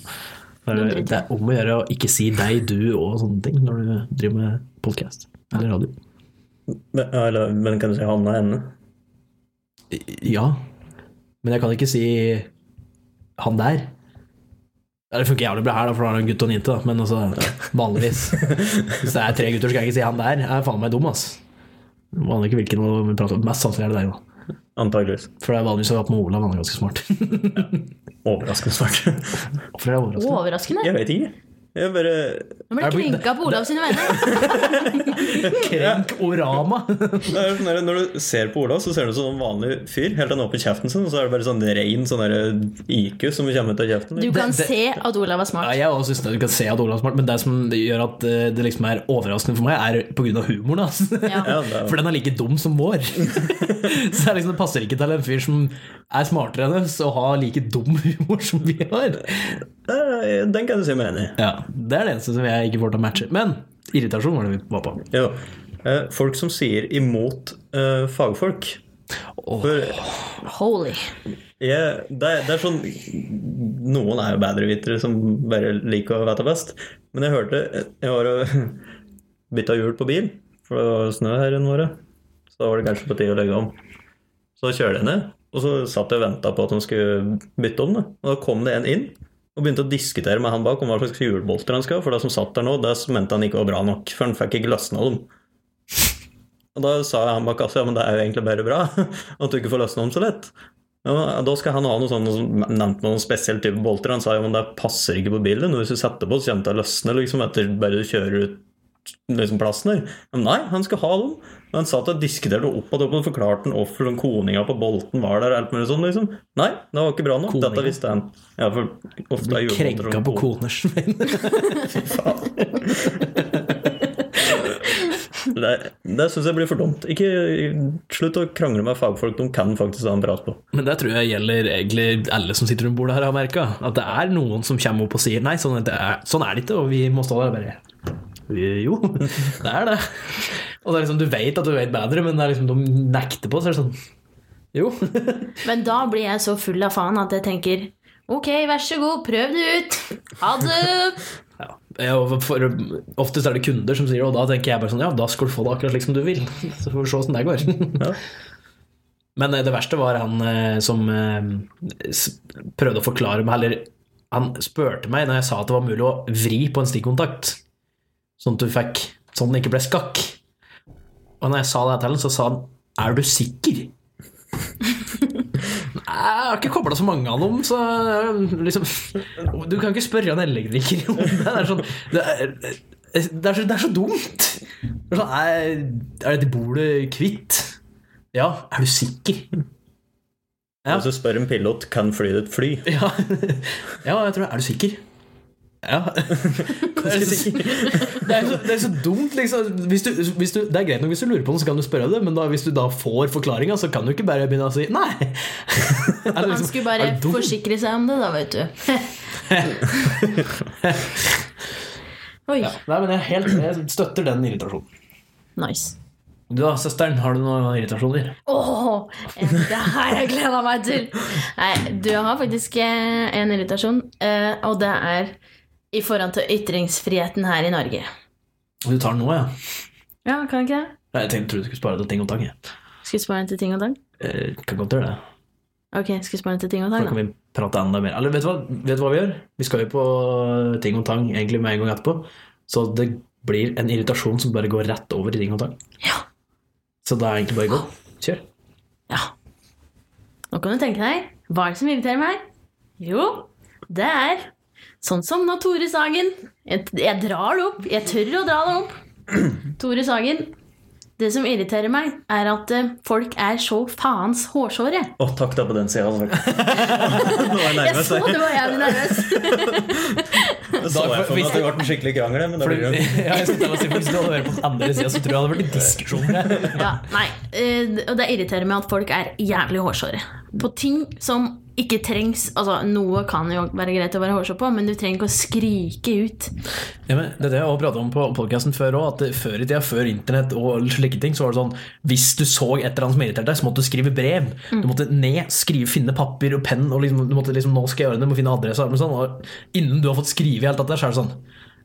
Speaker 2: driter
Speaker 1: Det
Speaker 2: jeg.
Speaker 1: er om å gjøre å ikke si deg, du og sånne ting når du driver med podkast eller radio.
Speaker 4: Men, eller, men kan du si han og henne?
Speaker 1: Ja, men jeg kan ikke si han der. Ja, Det funker jævlig bra her, da, for da er det en gutt og en jente, da. men altså, vanligvis. Hvis det er tre gutter, så skal jeg ikke si han der. Jeg er faen meg dum, ass. Jeg Aner ikke hvilken vi prater om. Mest sannsynlig er det deg, da.
Speaker 4: Antageligvis.
Speaker 1: For det er vanligvis å ha hatt med Olav, han er ganske smart.
Speaker 4: Overraskende svart.
Speaker 1: Hvorfor er det overraskende?
Speaker 2: overraskende.
Speaker 4: Jeg vet ikke. Jeg bare
Speaker 2: Nå ble
Speaker 1: Er
Speaker 2: jeg
Speaker 1: det-
Speaker 2: krenka på Olav sine venner.
Speaker 1: Krenk orama!
Speaker 4: det er sånn der, Når du ser på Olav, så ser du ut som en sånn vanlig fyr. Helt til han åpner kjeften sin, og så er det bare sånn rein sånn der IQ som kommer ut av kjeften.
Speaker 2: Du kan
Speaker 1: Det- det-
Speaker 2: se at Olav er
Speaker 1: Ja,
Speaker 2: smart.
Speaker 1: jeg også synes det, du kan se at Olav er smart, men det som det gjør at eh, det liksom er overraskende for meg, er pga. humoren hans.
Speaker 2: Ja.
Speaker 4: Ja, det er,
Speaker 1: For den er like dum som vår. Så det, er liksom, det passer ikke til en fyr som er smartere enn oss og har like dum humor som vi har.
Speaker 4: Eh, den kan du si meg enig i.
Speaker 1: Ja, Det er det eneste som jeg ikke får til å matche. Men irritasjon var det vi var på.
Speaker 4: Jo. Eh, Folk som sier imot eh, fagfolk.
Speaker 1: Åh.
Speaker 4: For
Speaker 2: Holy.
Speaker 4: jeg, det, er, det er sånn Noen er jo bedrevitere som bare liker å vite best. Men jeg hørte Jeg var og bytta hjul på bil, for det var snø her en vår. Så da var det kanskje på tide å legge om. Så kjørte jeg ned, og så satt jeg og venta på at de skulle bytte om. det Og da kom det en inn og begynte å diskutere med han bak om hva slags hjulbolter han skal ha. For det som satt der nå, det mente han ikke var bra nok, for han fikk ikke løsna dem. Og da sa han bak kassa ja, men det er jo egentlig bare bra at du ikke får løsna dem så lett. Ja, men da skal han ha noe sånn noe som nevnte noen spesiell type bolter. Han sa jo men det passer ikke på bilen. Hvis du setter på, så kommer det til å løsne liksom, etter bare du kjører ut liksom, plassen her. Men nei, han skal ha dem. Men han satt og diskuterte opp og opp og forklarte han hvorfor den koninga på bolten var der. og Alt mulig sånn, liksom. Nei, det var ikke bra nok.
Speaker 1: Koninga?
Speaker 4: Dette visste han. Ja, for ofte er julebåter
Speaker 1: Krenka
Speaker 4: om
Speaker 1: på
Speaker 4: kon-
Speaker 1: koners vegne.
Speaker 4: Det, det syns jeg blir for dumt. Ikke slutt å krangle med fagfolk. De kan faktisk ha en prat på.
Speaker 1: Men det tror jeg gjelder egentlig alle som sitter rundt bordet her, har merka. At det er noen som kommer opp og sier nei, sånn er det, sånn er det ikke, og vi må stå der og bare «Vi- Jo, det er det. Og det er liksom, du vet at du vet bedre, men det er liksom, de nekter på, så er det sånn Jo.
Speaker 2: Men da blir jeg så full av faen at jeg tenker Ok, vær så god, prøv det ut. Ha det.
Speaker 1: Ja. Ja, og For, oftest er det kunder som sier det, og da tenker jeg bare sånn Ja, da skal du få det akkurat slik som du vil. Så får vi se åssen det går.
Speaker 4: Ja.
Speaker 1: Men eh, det verste var han eh, som eh, s- prøvde å forklare meg Eller han spurte meg når jeg sa at det var mulig å vri på en stikkontakt, sånn at du fikk Sånn at den ikke ble skakk. Og når jeg sa det til ham, så sa han Er du sikker? Jeg har ikke kobla så mange av dem, så eh, liksom Du kan ikke spørre en elektriker om det. Det er, sånn, det er, det er, så, det er så dumt. Det er sånn, er, er dette bordet kvitt? Ja, er du sikker? Ja.
Speaker 4: Hvis du spør en pilot kan fly ditt fly
Speaker 1: Ja, ja jeg tror det. Er du sikker? Ja. Ganske sikker. Det er, så, det er så dumt, liksom. Hvis du, hvis du, det er greit nok hvis du lurer på noe, så kan du spørre det, men da, hvis du da får forklaringa, så kan du ikke bare begynne å si nei. Er det
Speaker 2: Han
Speaker 1: liksom- er
Speaker 2: skulle bare
Speaker 1: du dum?
Speaker 2: forsikre seg om det, da, vet du. Oi.
Speaker 1: Nei, men jeg, er helt, jeg støtter den irritasjonen.
Speaker 2: Nice.
Speaker 1: Du da, søsteren, har du noen irritasjoner?
Speaker 2: Åh, det har jeg gleda meg til! Nei, du har faktisk eh, en irritasjon, eh, og det er i forhold til ytringsfriheten her i Norge.
Speaker 1: Du tar den nå, ja?
Speaker 2: Ja, kan ikke det?
Speaker 1: Nei, jeg tenkte, trodde du skulle spare til ting og tang. jeg.
Speaker 2: Skal vi spare den til ting og tang?
Speaker 1: Eh, kan godt gjøre det.
Speaker 2: Ok, skal vi spare den til ting og
Speaker 1: Da
Speaker 2: tang,
Speaker 1: kan
Speaker 2: da?
Speaker 1: vi prate enda mer. Eller vet du hva, vet du hva vi gjør? Vi skal jo på ting og tang egentlig med en gang etterpå. Så det blir en irritasjon som bare går rett over i ting og tang.
Speaker 2: Ja.
Speaker 1: Så det er egentlig bare å gå. Kjør.
Speaker 2: ja. Nå kan du tenke deg, hva er det som irriterer meg? Jo, det er sånn som nå Tore Sagen. Jeg, jeg drar det opp. Jeg tør å dra det opp. Tore Sagen. Det som irriterer meg, er at eh, folk er så faens hårsåre.
Speaker 4: Å, takk da på den altså. sida. Nå
Speaker 2: Jeg
Speaker 4: var jeg nærmest.
Speaker 2: så det var jævlig nervøs.
Speaker 4: Jeg så jeg for meg at det ble en skikkelig krangel. Men det blir jo
Speaker 1: Ja, jeg skulle til å si, Hvis du hadde vært på den andre sida, så tror jeg det hadde vært diskusjoner.
Speaker 2: Ja, nei, eh, og det irriterer meg at folk er jævlig hårsåre. På ting som ikke trengs Altså, noe kan jo være greit å være hårsår på, men du trenger ikke å skrike ut.
Speaker 1: Ja, men det er det jeg har pratet om på podcasten før også, at det- før i tida, før internett og slike ting, så var det sånn hvis du så et eller annet som irriterte deg, så måtte du skrive brev. Du måtte ned, skrive, finne papir og penn, og liksom, du måtte liksom, nå skal jeg gjøre det, du må finne adresse og alt mulig sånn. Og innen du har fått skrive alt dette, så er det sånn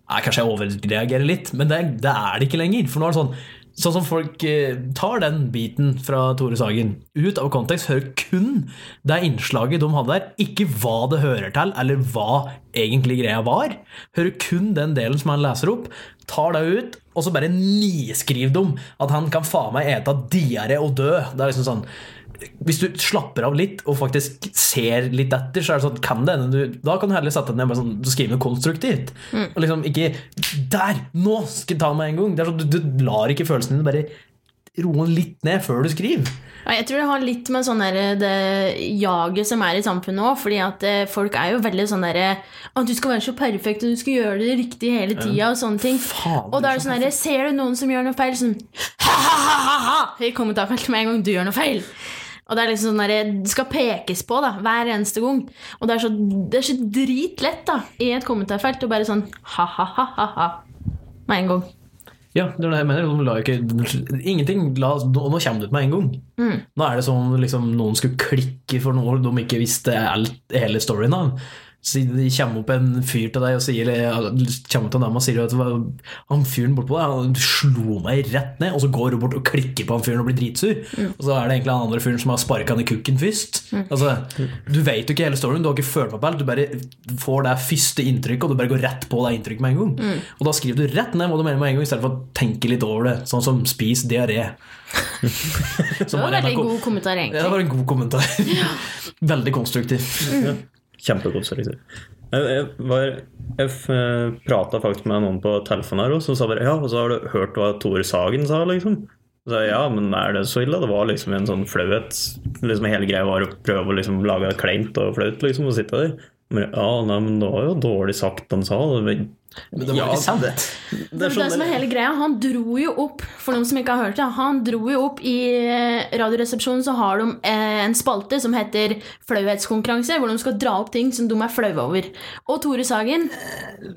Speaker 1: Nei, kanskje jeg overreagerer litt, men det, det er det ikke lenger. For nå er det sånn Sånn som folk eh, tar den biten fra Tore Sagen ut av kontekst, hører kun det innslaget de hadde der, ikke hva det hører til, eller hva egentlig greia var. Hører kun den delen som han leser opp, tar det ut, og så bare niskriver de at han kan faen meg ete diaré og dø. Det er liksom sånn hvis du slapper av litt og faktisk ser litt etter, så er det sånn Kan det hende du Da kan du heller sette deg ned og bare sånn, skrive noe konstruktivt. Og liksom ikke Der! Nå skal jeg ta meg en gang! Det er sånn, du, du lar ikke følelsene dine bare roe litt ned før du skriver.
Speaker 2: Ja, Jeg tror det har litt med sånn der, det jaget som er i samfunnet òg. Fordi at eh, folk er jo veldig sånn derre At du skal være så perfekt, og du skal gjøre det riktig hele tida, og sånne ting.
Speaker 1: Faen,
Speaker 2: og da er det sånn derre Ser du noen som gjør noe feil, sånn ha-ha-ha! I kommentarfeltet med en gang du gjør noe feil. Og det er liksom sånn der, det skal pekes på da, hver eneste gang. Og det er så, det er så dritlett da, i et kommentarfelt å bare sånn ha-ha-ha-ha med en gang.
Speaker 1: Ja, det er det jeg mener. De la jo ikke, ingenting la, nå, nå kommer det ut med en gang. Nå er det som liksom, noen skulle klikke for noe de ikke visste alt, hele storyen av. Så det kommer opp en fyr til deg og sier eller, ja, kommer opp til en dame og sier at hva- han fyren bortpå der han slo meg rett ned, og så går hun bort og klikker på han fyren og blir dritsur. Og så er det egentlig han andre fyren som har sparka han i kukken først. Altså, du vet jo ikke hele storyen, du har ikke følt meg på alt. Du bare får det første inntrykket, og du bare går rett på det inntrykket med en gang.
Speaker 2: Mm.
Speaker 1: Og da skriver du rett ned hva du mener med en gang, i stedet for å tenke litt over det. Sånn som spis diaré.
Speaker 2: Det var en veldig god kommentar,
Speaker 1: Ja, det
Speaker 2: egentlig.
Speaker 1: var en god kommentar. Veldig konstruktiv.
Speaker 2: Mm.
Speaker 4: Kjempekonstruktiv. liksom. Jeg, jeg, var- jeg f- prata faktisk med noen på telefonen her også, og sa bare ja, og så har du hørt hva Tore Sagen sa, liksom. Og Så, jeg, ja, men er det så ille? Det var liksom en sånn flauhet. Liksom Hele greia var å prøve å liksom lage det kleint og flaut, liksom, og sitte der. Men, ja, nei, men det var jo dårlig sagt han sa. Det, var-
Speaker 1: Men det var
Speaker 4: Ja,
Speaker 1: ikke sant.
Speaker 4: det-
Speaker 2: Det er sånn det som er hele greia. Han dro jo opp For noen som ikke har hørt det Han dro jo opp i eh, Radioresepsjonen så har de eh, en spalte som heter Flauhetskonkurranse, hvor de skal dra opp ting som de er flaue over. Og Tore Sagen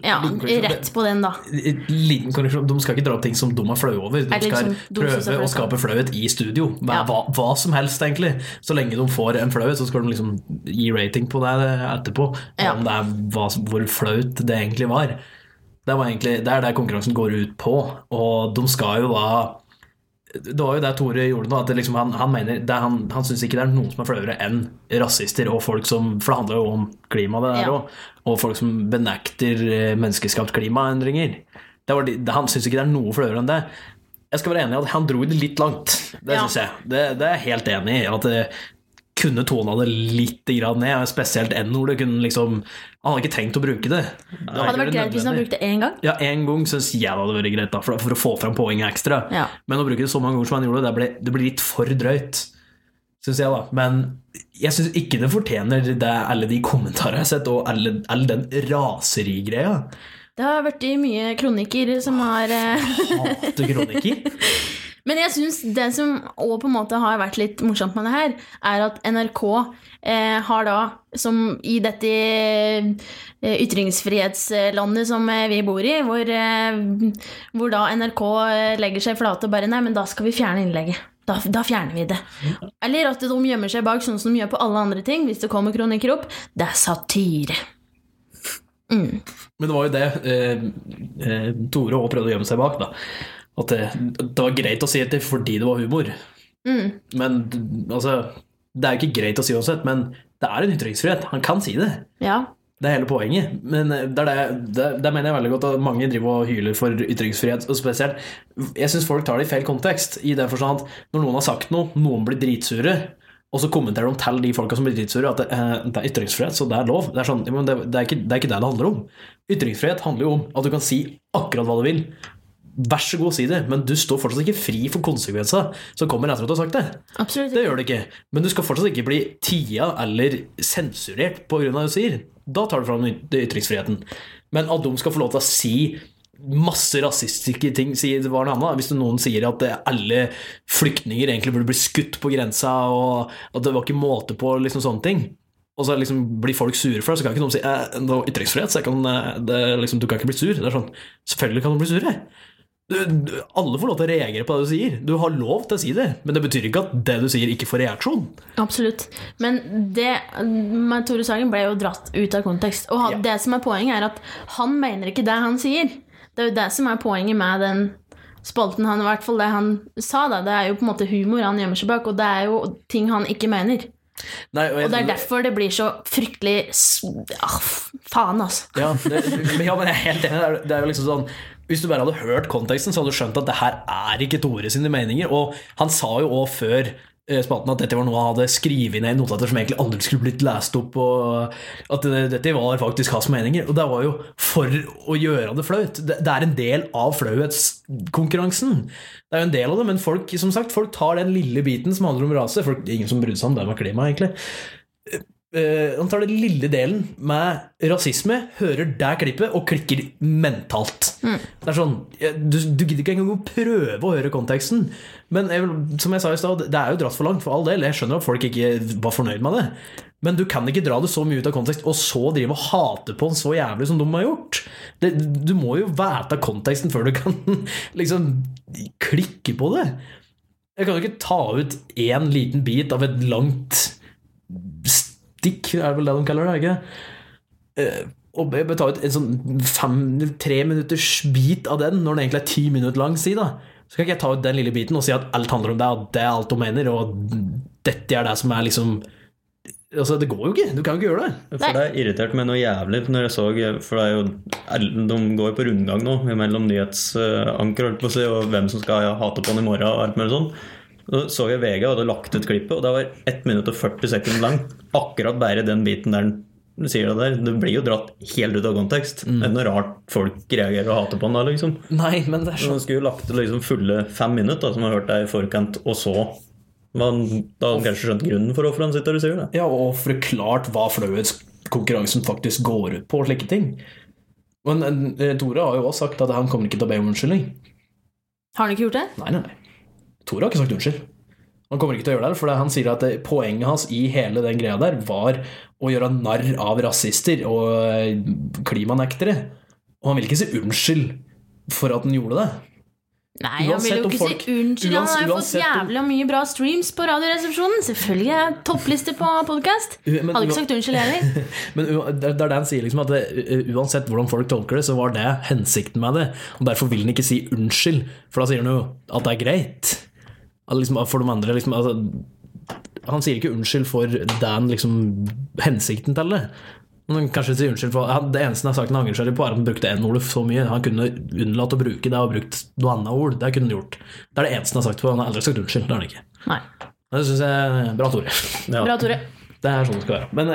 Speaker 2: Ja, rett på den, da.
Speaker 1: liten korreksjon. De skal ikke dra opp ting som de er flaue over. De
Speaker 2: Eller
Speaker 1: skal
Speaker 2: liksom som de synes er
Speaker 1: prøve å
Speaker 2: flaut.
Speaker 1: skape flauhet i studio. Hva,
Speaker 2: Ja.
Speaker 1: hva, hva som helst, egentlig. Så lenge de får en flauhet, så skal de liksom gi rating på det etterpå.
Speaker 2: Ja.
Speaker 1: Om det er hva, som- hvor flaut det egentlig var. Det, var egentlig, det er det konkurransen går ut på. Og de skal jo da det var jo det Tore gjorde nå, at det liksom, han, han mener det, han, han syns ikke det er noen som er flauere enn rasister og folk som For det handler jo om klima, det der
Speaker 2: Ja.
Speaker 1: òg. Og folk som benekter eh, menneskeskapt klimaendringer. Det var de, det, han syns ikke det er noe flauere enn det. Jeg skal være enig i at han dro det litt langt. Det
Speaker 2: Ja.
Speaker 1: synes jeg. Det, det er jeg helt enig i. At det kunne tona det litt grann ned. og Spesielt N-ordet kunne liksom Han hadde ikke trengt å bruke det. Det
Speaker 2: Det hadde vært greit hvis han hadde brukt det én gang.
Speaker 1: ja, én gang syns jeg det hadde vært greit, da, for, for å få fram poenget ekstra.
Speaker 2: Ja.
Speaker 1: Men å bruke det så mange ganger som han gjorde, det ble, det blir litt for drøyt. Synes jeg da Men jeg syns ikke det fortjener det, alle de kommentarene jeg har sett, og alle, all den raserigreia.
Speaker 2: Det har vært i mye kronikker som har eh,
Speaker 1: Hater kronikker.
Speaker 2: Men jeg synes det som også på en måte har vært litt morsomt med det her, er at NRK eh, har da, som i dette eh, ytringsfrihetslandet som eh, vi bor i, hvor, eh, hvor da NRK eh, legger seg flate og bare Nei, men da skal vi fjerne innlegget. Da, da fjerner vi det. Eller at de gjemmer seg bak sånn som de gjør på alle andre ting. Hvis det kommer kronikker opp. Det er satire. Mm.
Speaker 1: Men det var jo det eh, eh, Tore òg prøvde å gjemme seg bak. da At det, det var greit å si etter fordi det var humor.
Speaker 2: Mm.
Speaker 1: Men altså Det er jo ikke greit å si uansett, men det er en ytringsfrihet. Han kan si det.
Speaker 2: Ja.
Speaker 1: Det er hele poenget. Men eh, det, er det, det, det mener jeg veldig godt at mange driver og hyler for ytringsfrihet. Og spesielt, jeg syns folk tar det i feil kontekst. I den forstand at når noen har sagt noe, noen blir dritsure, og så kommenterer de til de folka som blir dritsure, at det, eh, det er ytringsfrihet, så det er lov. Det er, sånn, ja, men det, det, er ikke, det er ikke det det handler om. Ytringsfrihet handler jo om at du kan si akkurat hva du vil. Vær så god, si det, men du står fortsatt ikke fri for konsekvenser som kommer etter at du har sagt det.
Speaker 2: Absolutt.
Speaker 1: Det gjør det ikke. Men du skal fortsatt ikke bli tia eller sensurert på grunn av det du sier. Da tar du fram yt- ytringsfriheten. Men at de skal få lov til å si masse rasistiske ting, sier det var noe annet. Hvis det noen sier at eh, alle flyktninger egentlig burde bli skutt på grensa, og at det var ikke måte på liksom sånne ting. Og så liksom blir folk sure for det, så kan ikke noen si eh, det var ytringsfrihet, så jeg kan, eh, det, er liksom, du kan ikke bli sur. Det er sånn, Selvfølgelig kan du bli sure. Du, du, alle får lov til å reagere på det du sier. Du har lov til å si det, men det betyr ikke at det du sier, ikke får reaksjon.
Speaker 2: Absolutt. Men det med Tore Sagen ble jo dratt ut av kontekst. Og han, det som er poenget, er at han mener ikke det han sier. Det er jo det som er poenget med den spalten han i hvert fall det han sa. Da. Det er jo på en måte humor han gjemmer seg bak, og det er jo ting han ikke mener.
Speaker 1: Nei, jeg-
Speaker 2: Og det er derfor det blir så fryktelig s- ah, f- Faen, altså.
Speaker 1: Ja, det, men- ja, men jeg er helt enig. Det er- Det er jo liksom sånn Hvis du bare hadde hørt konteksten, så hadde du skjønt at det her er ikke Tore sine meninger. Og han sa jo òg før eh, spalten at dette var noe han hadde skrevet ned i notater som egentlig aldri skulle blitt lest opp, og at det, dette var faktisk hans meninger. Og det var jo for å gjøre det flaut. Det, det er en del av flauhetskonkurransen. Det er jo en del av det, men folk som sagt, folk tar den lille biten som handler om rase. Folk, det er ingen som brydde seg om det med klima, egentlig. Eh, han tar den lille delen med rasisme, hører det klippet og klikker mentalt. Det er sånn, eh, du, du gidder ikke engang å prøve å høre konteksten. Men jeg, vil- som jeg sa i stad, det er jo dratt for langt, for all del. Jeg skjønner at folk ikke var fornøyd med det. Men du kan ikke dra det så mye ut av kontekst, og så drive og hate på den så jævlig som de har gjort. Det, du må jo vite konteksten før du kan liksom klikke på det. Jeg kan jo ikke ta ut én liten bit av et langt stikk, er det vel det de kaller det? er det ikke det? Eh, Og jeg bør ta ut en sånn fem, tre minutters bit av den, når den egentlig er ti minutter lang, si da. Så kan ikke jeg ta ut den lille biten og si at alt handler om det, og det er alt de mener, og dette er det som er liksom Altså, det går jo ikke. Du kan jo ikke gjøre det.
Speaker 4: For det irriterte meg noe jævlig når jeg så For det er jo, de går jo på rundgang nå mellom nyhetsanker holdt på å si, og hvem som skal hate på han i morgen og alt mulig sånn. Så så jeg VG hadde lagt ut klippet, og det var 1 minutt og 40 sekunder lang. Akkurat bare den biten der den sier det der. Det blir jo dratt helt ut av kontekst. Det er noe rart folk reagerer og hater på han da, liksom.
Speaker 1: Nei, men det er
Speaker 4: Så
Speaker 1: sånn
Speaker 4: Man skulle jo lagt det liksom fulle fem minutter, da, som jeg har hørt deg i forkant, og så man, Da hadde han kanskje skjønt grunnen for hvorfor han sitter og sier det.
Speaker 1: Ja, og forklart hva flauhetskonkurransen faktisk går ut på, og slike ting. Men eh, Tore har jo også sagt at han kommer ikke til å be om unnskyldning.
Speaker 2: Har han ikke gjort det?
Speaker 1: Nei, nei, nei. Tore har ikke sagt unnskyld. Han kommer ikke til å gjøre det, for han sier at det- poenget hans i hele den greia der var å gjøre narr av rasister og eh, klimanektere. Og han vil ikke si unnskyld for at han gjorde det.
Speaker 2: Nei, han
Speaker 1: Uansett
Speaker 2: vil jo
Speaker 1: om
Speaker 2: ikke
Speaker 1: folk-
Speaker 2: si unnskyld. Han har jo fått
Speaker 1: uansett om-
Speaker 2: jævlig mye bra streams på Radioresepsjonen. Selvfølgelig er jeg toppliste på podkast.
Speaker 1: U- men
Speaker 2: Hadde
Speaker 1: ua-
Speaker 2: ikke sagt unnskyld, jeg heller.
Speaker 1: Men u- det er det han sier, liksom at det, u- uansett hvordan folk tolker det, så var det hensikten med det. Og derfor vil han ikke si unnskyld, for da sier han jo at det er greit. At liksom, for de andre, liksom altså, Han sier ikke unnskyld for den liksom, hensikten til det. Men han kanskje sier unnskyld for han- Det eneste han har sagt han angrer seg på, er at han brukte N-ordet så mye. Han kunne unnlatt å bruke det og brukt noe annet ord. Det kunne han gjort. Det er det eneste han har sagt. For han har aldri sagt unnskyld. Det har han ikke.
Speaker 2: Nei.
Speaker 1: Det syns jeg Bra, Tore.
Speaker 4: Ja.
Speaker 2: Bra, Tore.
Speaker 1: Det er sånn det skal være. Men,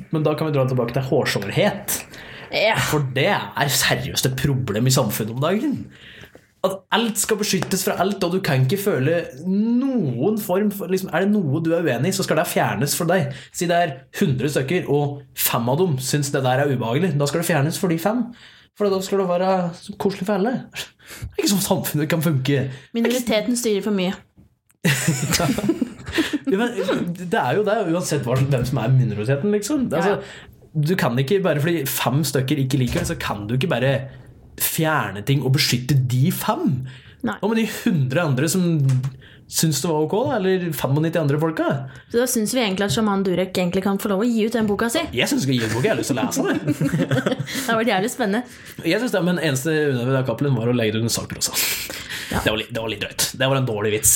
Speaker 1: eh, men da kan vi dra tilbake til hårsårhet.
Speaker 2: Ja.
Speaker 1: For det er seriøst et problem i samfunnet om dagen. At alt skal beskyttes fra alt, og du kan ikke føle noen form for liksom, Er det noe du er uenig i, så skal det fjernes fra deg. Si det er 100 stykker, og fem av dem syns det der er ubehagelig. Da skal det fjernes for de fem. For da skal det være koselig for alle. Det er ikke sånn samfunnet kan funke.
Speaker 2: Minoriteten styrer for mye.
Speaker 1: Ja, men liksom, det er jo det, uansett hva, hvem som er minoriteten, liksom. Det, er
Speaker 2: Ja, ja.
Speaker 1: altså, du kan ikke bare fordi fem stykker ikke liker det, så kan du ikke bare fjerne ting og beskytte de fem.
Speaker 2: Nei.
Speaker 1: Hva med de 100 andre som syns det var ok, da? Eller 95 andre folka?
Speaker 2: Så da syns vi egentlig at sjaman Durek egentlig kan få lov å gi ut den boka si.
Speaker 1: Jeg syns ikke Gilbok, jeg har lyst til å lese det.
Speaker 2: Det har vært jævlig spennende.
Speaker 1: Jeg synes det, Men eneste unødvendige av Cappelen var å legge det under sakprosa. Det, var litt- det var litt drøyt. Det var en dårlig vits.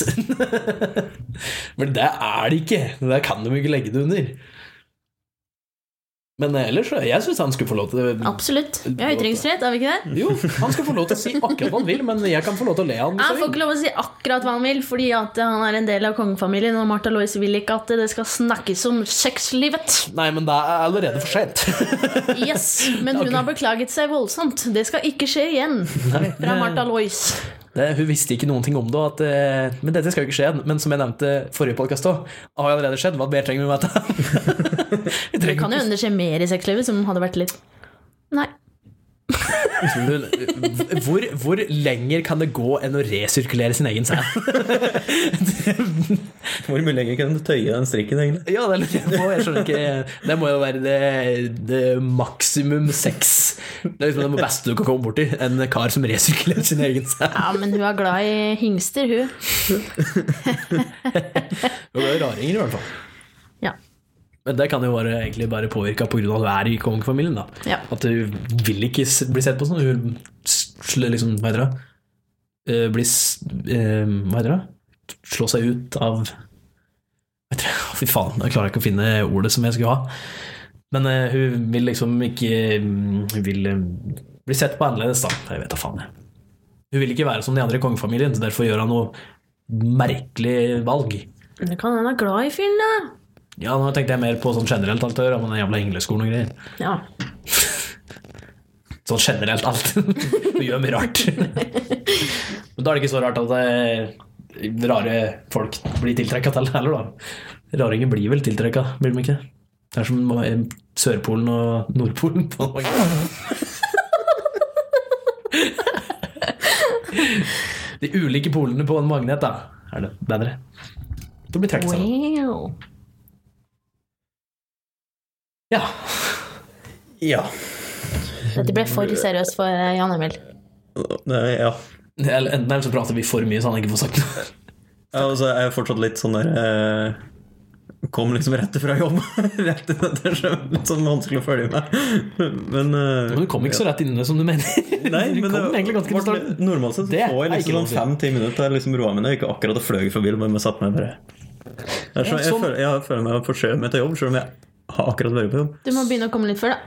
Speaker 1: Men det er det ikke. Det kan de ikke legge det under. Men eh, ellers, jeg syns han skulle få lov til det.
Speaker 2: Absolutt. Vi har ytringsfrihet, har vi ikke det?
Speaker 1: Jo, han skal få lov til å si akkurat hva han vil, men jeg kan få lov til å le av han. hvis
Speaker 2: Han
Speaker 1: jeg
Speaker 2: får ikke lov å si akkurat hva han vil, fordi at han er en del av kongefamilien, og Martha Louise vil ikke at det skal snakkes om sexlivet.
Speaker 1: vil. Nei, men det er allerede for sent.
Speaker 2: Yes, Men hun har beklaget seg voldsomt. Det skal ikke skje igjen. Fra Martha Louise.
Speaker 1: Det, hun visste ikke noen ting om det. og At, eh, men dette skal jo ikke skje igjen. Men som jeg nevnte forrige podkast òg, har jo allerede skjedd. Hva mer trenger vi å vite? Vi
Speaker 2: Det kan jo hende det skjer mer i sexlivet, som hadde vært litt Nei.
Speaker 1: Hun- Hvor, hvor lenger kan det gå enn å resirkulere sin egen sæd?
Speaker 4: Hvor mye lenger kan du tøye den strikken, egentlig?
Speaker 1: Ja, det lurer jeg på. Jeg skjønner ikke Det må jo være det, det maksimum seks. Det er liksom det beste du kan komme borti. En kar som resirkulerer sin egen sæd.
Speaker 2: Ja, men hun er glad i hingster, hun.
Speaker 1: Det er raringer, i hvert fall.
Speaker 2: Ja.
Speaker 1: Men det kan jo være, egentlig bare påvirke pga. at du er i kongefamilien. da.
Speaker 2: Ja.
Speaker 1: At du vil ikke s- bli sett på sånn. Hun sl- liksom, hva heter det? Eh, Bli s- eh, Hva heter det? Slå seg ut av Hva heter det? Fy faen, jeg klarer ikke å finne ordet som jeg skulle ha. Men eh, hun vil liksom ikke mm, Hun vil eh, bli sett på annerledes, da. Jeg vet da faen, jeg. Hun vil ikke være som de andre i kongefamilien, så derfor gjør hun noe merkelig valg.
Speaker 2: Men Det kan hende han er glad i fyren, da.
Speaker 1: Ja, nå tenkte jeg mer på sånn generelt altør, om den jævla engleskolen og greier.
Speaker 2: Ja.
Speaker 1: Sånn generelt alt. Du gjør mye rart. Men da er det ikke så rart at eh, rare folk blir tiltrekka til det heller, da. Raringer blir vel tiltrekka, blir de ikke? Det er som ma- eh, Sørpolen og Nordpolen. på mange måter. De ulike polene på en magnet, da. Er det bedre? Det blir trukket sammen.
Speaker 2: Wow.
Speaker 1: Ja.
Speaker 4: Ja.
Speaker 2: Dette ble for seriøst for eh, Jan Emil.
Speaker 4: Det- ja.
Speaker 1: Eller enten eller så prater vi for mye, så han ikke får sagt noe.
Speaker 4: Ja, og så er jeg fortsatt litt sånn der eh, Kom liksom rett fra jobb. rett i dette, så er det litt sånn vanskelig å følge med. Men eh,
Speaker 1: Men du kom ikke så rett inn i det som du mener.
Speaker 4: Nei,
Speaker 1: du
Speaker 4: men
Speaker 1: kom
Speaker 4: det-
Speaker 1: egentlig ganske på starten.
Speaker 4: Normalt sett så
Speaker 1: Det er
Speaker 4: får jeg
Speaker 1: ikke
Speaker 4: liksom
Speaker 1: lov
Speaker 4: sånn
Speaker 1: til.
Speaker 4: fem-ti minutter til jeg liksom roer meg ned. Ikke akkurat og fløy forbi, men jeg satt meg bare Det er så, jeg,
Speaker 1: sånn.
Speaker 4: føler, jeg føler meg forskjøvet meg til jobb, selv om jeg har akkurat vært på jobb.
Speaker 2: Du må begynne å komme litt før, da.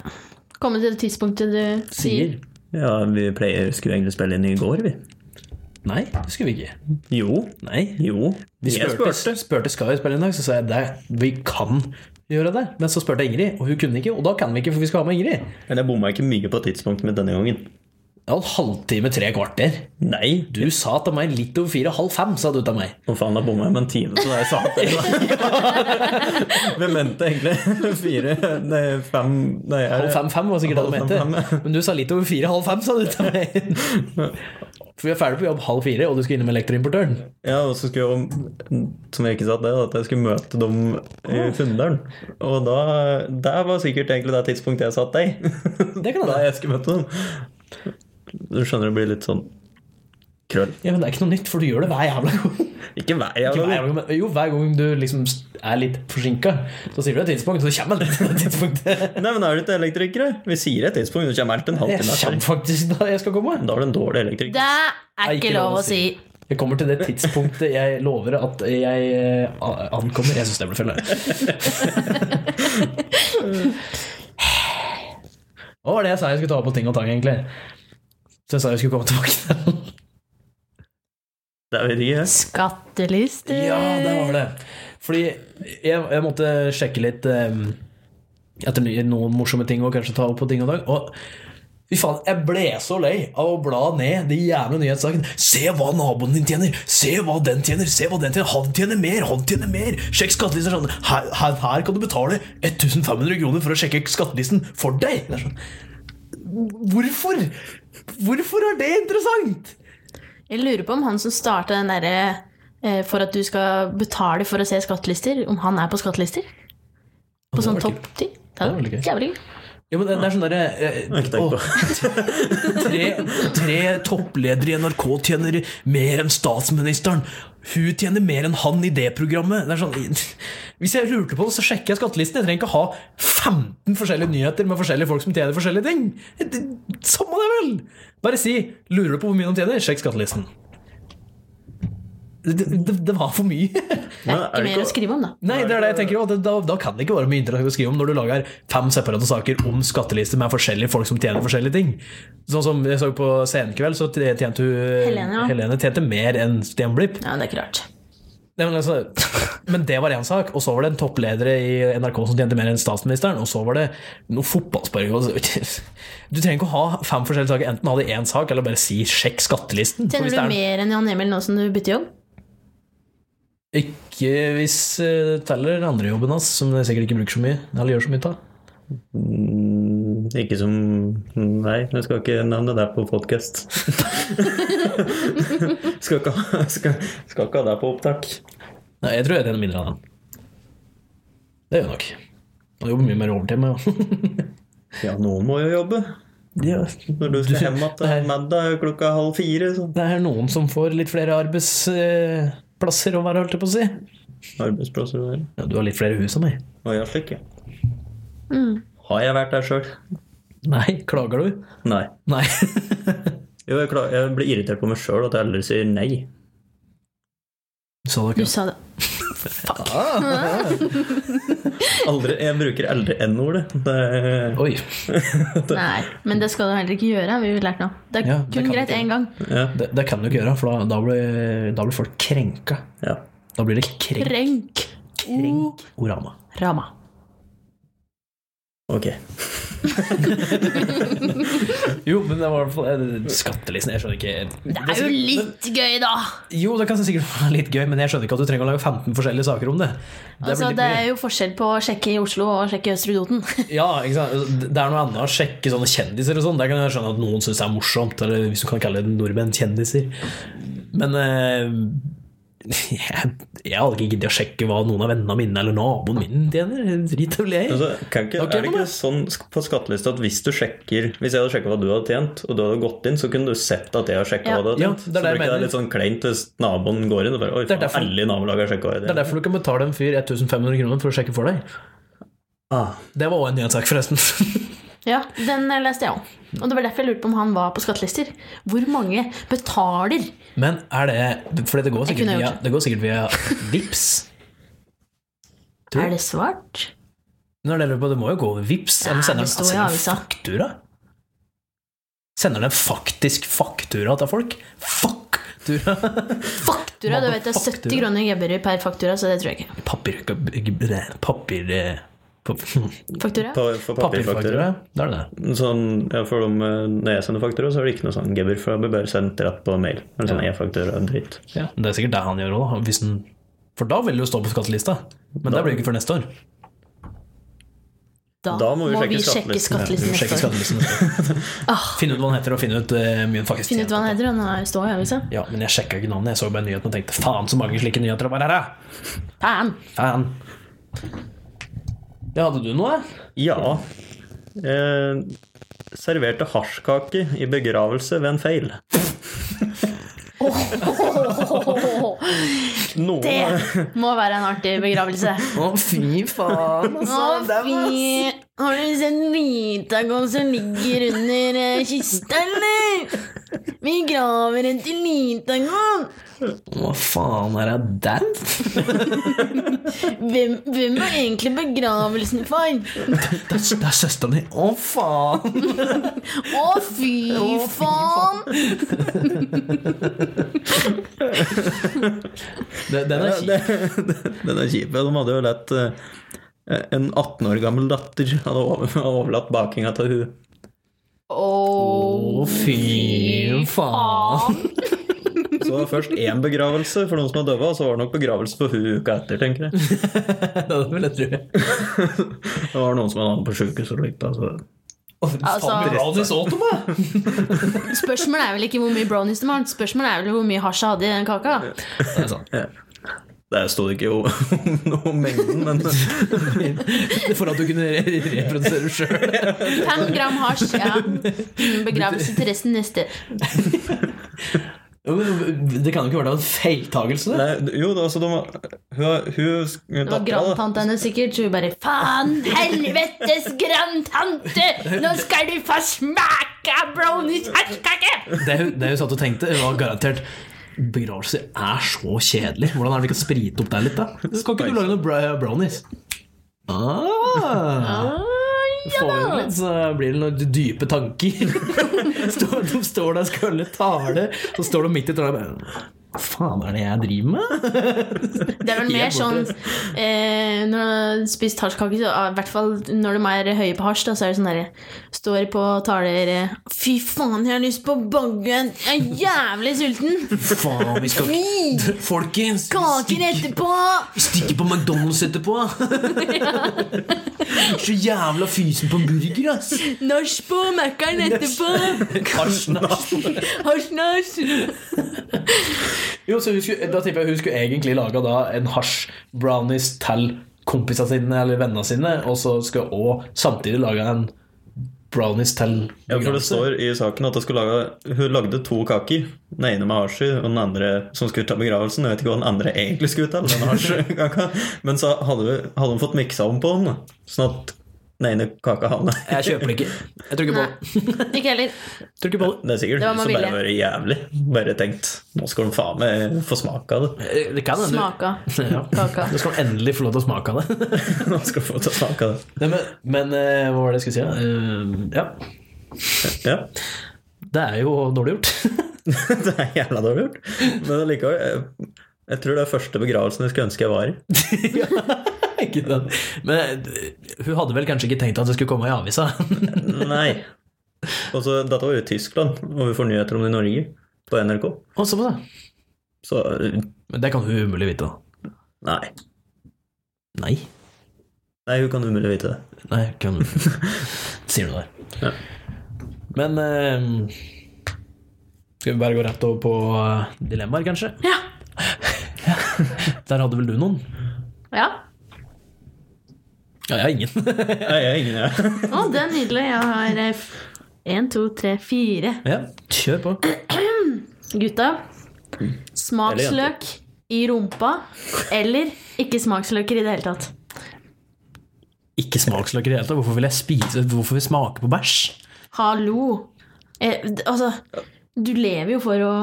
Speaker 2: Komme til det tidspunktet du sier.
Speaker 1: Sier.
Speaker 4: Ja, vi pleier, skulle egentlig spille inn i går, vi.
Speaker 1: Nei, det skulle vi ikke.
Speaker 4: Jo.
Speaker 1: Nei.
Speaker 4: Jo.
Speaker 1: Vi
Speaker 4: Jeg
Speaker 1: spurte, spurte skal vi spille en dag, så sa jeg det, vi kan gjøre det. Men så spurte jeg Ingrid, og hun kunne ikke, og da kan vi ikke, for vi skal ha med Ingrid.
Speaker 4: Men jeg bomma ikke mye på tidspunktet mitt denne gangen.
Speaker 1: Det var en halvtime, tre kvarter.
Speaker 4: Nei.
Speaker 1: Du sa til meg litt over fire, halv fem, sa du til meg.
Speaker 4: Å faen, da bomma jeg med en time, så da jeg sa det. Vi mente egentlig fire Nei, fem Nei, er
Speaker 1: Halv
Speaker 4: det-
Speaker 1: fem-fem var sikkert det du
Speaker 4: Halv
Speaker 1: mente.
Speaker 4: fem, fem, ja.
Speaker 1: Men du sa litt over fire, halv fem, sa du til meg. For vi er ferdig på jobb halv fire, og du skal innom elektroimportøren.
Speaker 4: Ja, og så skulle jeg jo, som jeg ikke sa det, at jeg skulle møte dem i
Speaker 1: Ah.
Speaker 4: Funndalen. Og da Det var sikkert egentlig det tidspunktet jeg satt deg.
Speaker 1: Det kan
Speaker 4: Da
Speaker 1: hende.
Speaker 4: jeg skulle møte dem. Du skjønner det blir litt sånn krøll.
Speaker 1: Ja, men det er ikke noe nytt, for du gjør det hver jævla gang.
Speaker 4: Ikke hver
Speaker 1: Ikke hver
Speaker 4: jævla gang.
Speaker 1: gang, men jo, hver gang du liksom er litt forsinka, så sier du et tidspunkt, så kommer jeg til det tidspunktet.
Speaker 4: Nei, men er du ikke elektrikere? Vi sier et tidspunkt, du kommer helt en
Speaker 1: Jeg
Speaker 4: halvtime
Speaker 1: kommer
Speaker 4: etter.
Speaker 1: faktisk da jeg skal komme.
Speaker 4: Da er du en dårlig elektriker.
Speaker 2: Det er ikke lov å si.
Speaker 1: Jeg kommer til det tidspunktet jeg lover at jeg eh, a- ankommer. Jeg syns det ble felle. Hva var det jeg sa jeg skulle ta opp på ting og tang, egentlig? Så jeg sa jeg skulle komme tilbake til den.
Speaker 4: Det vet ikke jeg.
Speaker 2: Skattelister.
Speaker 1: Ja, det var det. Fordi jeg, jeg måtte sjekke litt eh, etter ny- noen morsomme ting og kanskje ta opp på ting og dag. Og fy faen, jeg ble så lei av å bla ned de jævla nyhetssakene. Se hva naboen din tjener! Se hva den tjener! Se hva den tjener! Han tjener mer! Han tjener mer! Sjekk skattelister! Sånn. Her, her, her kan du betale 1500 kroner for å sjekke skattelisten for deg! Det er sånn. Hvorfor? Hvorfor er det interessant?
Speaker 2: Jeg lurer på om han som starta den derre eh, for at du skal betale for å se skattelister, om han er på skattelister? På
Speaker 1: Det
Speaker 2: sånn
Speaker 1: var
Speaker 2: topp ti? Det
Speaker 1: Det var
Speaker 2: er
Speaker 1: veldig gøy.
Speaker 2: jævlig gøy.
Speaker 1: Ja, men det, det er sånn derre eh,
Speaker 4: Ikke tenk
Speaker 1: å, tre, tre toppledere i NRK tjener mer enn statsministeren. Hun tjener mer enn han i det programmet. Det er sånn, hvis jeg lurte på det, så sjekker jeg skattelisten. Jeg trenger ikke ha 15 forskjellige nyheter med forskjellige folk som tjener forskjellige ting. Det- Samme det, vel! Bare si 'lurer du på hvor mye de tjener', sjekk skattelisten. Det, det, det var for mye.
Speaker 2: Det er
Speaker 4: Men er
Speaker 2: ikke
Speaker 4: det
Speaker 2: mer
Speaker 4: ikke-
Speaker 2: å skrive om, da.
Speaker 1: Nei, det er det jeg tenker også. Da, da kan det ikke være mye interessant å skrive om når du lager fem separate saker om skattelister med forskjellige folk som tjener forskjellige ting. Sånn som jeg så på Senkveld, så tjente hun
Speaker 2: Helene, ja.
Speaker 1: Helene tjente mer enn Stian Blipp.
Speaker 2: Ja, det er ikke rart.
Speaker 1: Nei, men, altså, men det var én sak, og så var det en toppleder i NRK som tjente mer enn statsministeren, og så var det noe fotballspørring og så- Du trenger ikke å ha fem forskjellige saker, enten ha det i én sak, eller bare si 'sjekk skattelisten'. For
Speaker 2: Tjener
Speaker 1: hvis
Speaker 2: du
Speaker 1: det er-
Speaker 2: mer enn Jan Emil nå som du bytter jobb?
Speaker 1: Ikke hvis eh, det teller andrejobben hans, som jeg sikkert ikke bruker så mye, eller gjør så mye av.
Speaker 4: Mm, Ikke som Nei, jeg skal ikke nevne det på podkast. skal, ikke ha- skal, skal ikke ha det på opptak.
Speaker 1: Nei, jeg tror jeg tjener mindre enn han. Det gjør jeg nok. Han jobber mye mer overtid med
Speaker 4: Ja, noen må jo jobbe.
Speaker 1: ja.
Speaker 4: Når du skal hjem igjen med deg klokka halv fire, så
Speaker 1: Det er noen som får litt flere arbeidsplasser å være, holdt jeg på å si.
Speaker 4: Arbeidsplasser og der.
Speaker 1: Ja, du har litt flere hus enn meg.
Speaker 4: Og jeg slik, ja. Har jeg vært der sjøl?
Speaker 1: Nei, klager du?
Speaker 4: Nei.
Speaker 1: Nei.
Speaker 4: Jo, jeg, klar, jeg blir irritert på meg sjøl at jeg aldri sier nei.
Speaker 1: Du sa det
Speaker 2: Du
Speaker 1: ikke.
Speaker 2: sa det.
Speaker 4: Aldri, jeg bruker aldri n-ordet. Det er-
Speaker 1: Oi.
Speaker 2: Nei, men det skal du heller ikke gjøre, har vi lært nå. Det er
Speaker 1: Ja, det
Speaker 2: kun
Speaker 1: kan
Speaker 2: greit
Speaker 1: ikke.
Speaker 2: én gang.
Speaker 4: Ja.
Speaker 1: Det, det kan du ikke gjøre, for da, da, blir, da blir folk krenka.
Speaker 4: ja.
Speaker 1: Da blir det krenk.
Speaker 2: Renk.
Speaker 1: Orama.
Speaker 2: Rama.
Speaker 4: Ok.
Speaker 1: Jo, men det var i hvert fall eh, skattelisten. Jeg skjønner ikke
Speaker 2: Det er jo litt gøy, da.
Speaker 1: Jo, det kan sikkert være litt gøy, men jeg skjønner ikke at du trenger å lage 15 forskjellige saker om det. Det
Speaker 2: Altså,
Speaker 1: blir litt
Speaker 2: det
Speaker 1: mye.
Speaker 2: er jo forskjell på å sjekke i Oslo og å sjekke i Østre Toten.
Speaker 1: Ja, ikke sant? Altså, Det er noe annet å sjekke sånne kjendiser og sånn. Der kan jeg skjønne at noen syns det er morsomt, eller hvis du kan kalle det nordmenn kjendiser. Men eh, jeg, jeg hadde ikke giddet å sjekke hva noen av vennene mine eller naboen min tjener. Drit vel jeg.
Speaker 4: Altså, kan ikke,
Speaker 1: Ok,
Speaker 4: er det
Speaker 1: men
Speaker 4: ikke sånn sk- på skattelista at hvis du sjekker Hvis jeg hadde sjekka hva du hadde tjent, og du hadde gått inn, så kunne du sett at jeg har sjekka
Speaker 2: Ja.
Speaker 4: hva du hadde
Speaker 1: Ja,
Speaker 4: tjent?
Speaker 1: det er
Speaker 4: så
Speaker 1: det jeg
Speaker 4: blir ikke
Speaker 1: mener.
Speaker 4: det litt sånn kleint hvis naboen går inn og bare Oi,
Speaker 1: Det er
Speaker 4: faen,
Speaker 1: derfor-
Speaker 4: alle i nabolaget har sjekka hva jeg
Speaker 1: Det er
Speaker 4: tjent.
Speaker 1: derfor du kan betale en fyr 1500 kroner for å sjekke for deg.
Speaker 4: Ah,
Speaker 1: Det var òg en nyhetssak, forresten.
Speaker 2: Ja, den eh, leste jeg òg. Og det var derfor jeg lurte på om han var på skattelister. Hvor mange betaler?
Speaker 1: Men er det For det går
Speaker 2: Jeg
Speaker 1: sikkert
Speaker 2: kunne
Speaker 1: via,
Speaker 2: gjort
Speaker 1: det går sikkert via Vips Du?
Speaker 2: Er det svart?
Speaker 1: Når det lurer på, det må jo gå over Vips
Speaker 2: Ja,
Speaker 1: Eller sender
Speaker 2: det står i
Speaker 1: sender en
Speaker 2: avisa.
Speaker 1: faktura Sender den faktisk faktura til folk? Faktura
Speaker 2: Faktura, du vet det er 70
Speaker 1: Faktura.
Speaker 2: kroner gebberud per faktura, så det tror jeg ikke.
Speaker 1: Papir... Papir... papir
Speaker 2: Faktura?
Speaker 4: på, for papirfaktura.
Speaker 1: papirfaktura? Da er det det.
Speaker 4: Sånn, ja, for om, eh, når jeg sender faktura, så er det ikke noe sånn gebber, for da blir bare sendt rett på mail. Eller sånn e-faktura dritt.
Speaker 1: Ja. Det er sikkert det han gjør òg, hvis han For da vil det jo stå på skattelista. Men
Speaker 4: Da-
Speaker 1: det blir det ikke før neste år.
Speaker 2: Da,
Speaker 4: Da
Speaker 2: må,
Speaker 4: må vi sjekke
Speaker 2: vi sjekke
Speaker 4: skattelisten.
Speaker 2: skattelisten
Speaker 1: Sjekke
Speaker 2: neste år. Ah.
Speaker 1: skattelisten. Finne ut hva han heter, og finne ut eh, mye han faktisk
Speaker 2: Finn ut hva han heter, han står i avisa.
Speaker 1: Ja, men jeg sjekka ikke navnet. Jeg så bare nyheten og tenkte faen så mange slike nyheter det var her, da!
Speaker 2: Faen!
Speaker 1: Faen. Ja, hadde du noe?
Speaker 4: Ja. Eh, serverte hasjkake i begravelse ved en feil. Noen,
Speaker 2: Det må være en artig begravelse.
Speaker 1: Å, fy faen. altså.
Speaker 2: Å, fy! Har du sett Litagon som ligger under eh, kista, eller? Vi graver en til Litagon!
Speaker 1: Hva faen er det der?
Speaker 2: Hvem, hvem er egentlig begravelsen for?
Speaker 1: Det er, det er søsteren din. Å, faen.
Speaker 2: Å, fy faen!
Speaker 1: Den, den er kjip.
Speaker 4: Den er kjip. De hadde jo lett eh, en 18 år gammel datter hadde over- overlatt bakinga til hun.
Speaker 2: Å,
Speaker 1: Å, fy faen.
Speaker 4: Så det var først én begravelse for noen som var døde, og så var det nok begravelse for hun uka etter, tenker jeg.
Speaker 1: Det vil jeg tro.
Speaker 4: Det var noen som var på sjukehus og likte altså.
Speaker 1: Å, fy
Speaker 2: Altså-
Speaker 1: faen, brownies åt dem, da!
Speaker 2: Spørsmålet er vel ikke hvor mye brownies de har, spørsmålet er vel hvor mye hasj jeg hadde i den kaka.
Speaker 1: Det er sant.
Speaker 4: Det sto det ikke om noe om mengden, men
Speaker 1: For at du kunne re- reprodusere sjøl.
Speaker 2: Fem gram hasj, ja. Innen Begravelse til resten neste.
Speaker 1: Det kan jo ikke være det var en feiltagelse.
Speaker 4: Nei, jo, det, altså, de, hun, hun,
Speaker 2: Det var grandtante hennes sikkert, så hun bare Faen helvetes grandtante! Nå skal du få smake brownies hasjkake!
Speaker 1: Det, hun- det hun satt og tenkte, var garantert Begravelser er så kjedelig. Hvordan er det vi kan sprite opp der litt, da? Skal ikke du lage noen bra- brownies? Ah,
Speaker 2: Oi,
Speaker 1: får vi det litt, så blir det noen dype tanker. Står, de står der og skal holde tale, så står de midt i tråden og bare Hva faen er det jeg driver med?
Speaker 2: Det er vel mer sånn eh, Når du har spist hasjkake, så ah, i hvert fall når de er høye på hasj, da, så er det sånn derre Står på taler eh, Fy faen, jeg har lyst på baggen! Jeg er jævlig sulten!
Speaker 1: Faen, vi skal
Speaker 2: Fy!
Speaker 1: Folkens,
Speaker 2: Kaker etterpå!
Speaker 1: vi stikker på McDonald's etterpå! Så jævla fysen på burger, ass!
Speaker 2: Nach på Mækkern etterpå! Hasj-nach!
Speaker 1: Jo, så hun skulle, da tipper jeg hun skulle egentlig lage da en hasj-brownies til kompisene sine eller vennene sine, og så skulle hun også samtidig lage en brownies til
Speaker 4: Ja, for det står i saken at hun, skulle lage, hun lagde to kaker. Den ene med hasj og den andre som skulle ta begravelsen. Jeg vet ikke hva den andre egentlig skulle til. Den hasjkaka. Men så hadde, hun- hadde hun fått miksa om på den, da. sånn at den ene kaka havna i-
Speaker 1: Jeg kjøper det ikke. Jeg tror ikke på det.
Speaker 2: Ikke heller.
Speaker 1: Tror ikke på det.
Speaker 4: Det er sikkert
Speaker 2: Det var
Speaker 4: hun som
Speaker 2: med
Speaker 4: bare har vært jævlig. Bare tenkt nå skal de faen meg få smake av det.
Speaker 1: Eh, Det kan hende.
Speaker 2: Smaka.
Speaker 1: Ja.
Speaker 2: Kaka.
Speaker 1: Nå skal man endelig få lov til å smake av det.
Speaker 4: Nå skal de få ta smak av det.
Speaker 1: Nei, men, men eh, hva var det jeg skulle si? da? Eh, ja.
Speaker 4: Ja.
Speaker 1: Det er jo dårlig gjort.
Speaker 4: det er jævla dårlig gjort. Men allikevel eh, Jeg tror det er første begravelsen jeg skulle ønske jeg var i.
Speaker 1: Ikke sant? Men eh, hun hadde vel kanskje ikke tenkt at det skulle komme i avisa?
Speaker 4: Nei. Og så, Dette var jo i Tyskland, og vi får nyheter om det i Norge på NRK.
Speaker 1: Og så på det.
Speaker 4: Så eh,
Speaker 1: Men det kan hun umulig vite, da.
Speaker 4: nei.
Speaker 1: Nei.
Speaker 4: Nei, hun kan umulig vite det.
Speaker 1: Nei, kan Sier du det?
Speaker 4: Ja.
Speaker 1: Men eh, Skal vi bare gå rett over på eh, dilemmaer, kanskje?
Speaker 2: Ja.
Speaker 1: Der hadde vel du noen?
Speaker 2: ja.
Speaker 1: Ja, jeg har ingen.
Speaker 4: Nei, jeg er ingen, jeg.
Speaker 2: Å, det er nydelig. Jeg har eh, f- en, to, tre, fire.
Speaker 1: ja, kjør på.
Speaker 2: Gutta, smaksløk i rumpa eller ikke smaksløker i det hele tatt.
Speaker 1: Ikke smaksløker i det hele tatt. Hvorfor vil jeg spise Hvorfor vil jeg smake på bæsj?
Speaker 2: Hallo. Eh, d- altså, du lever jo for å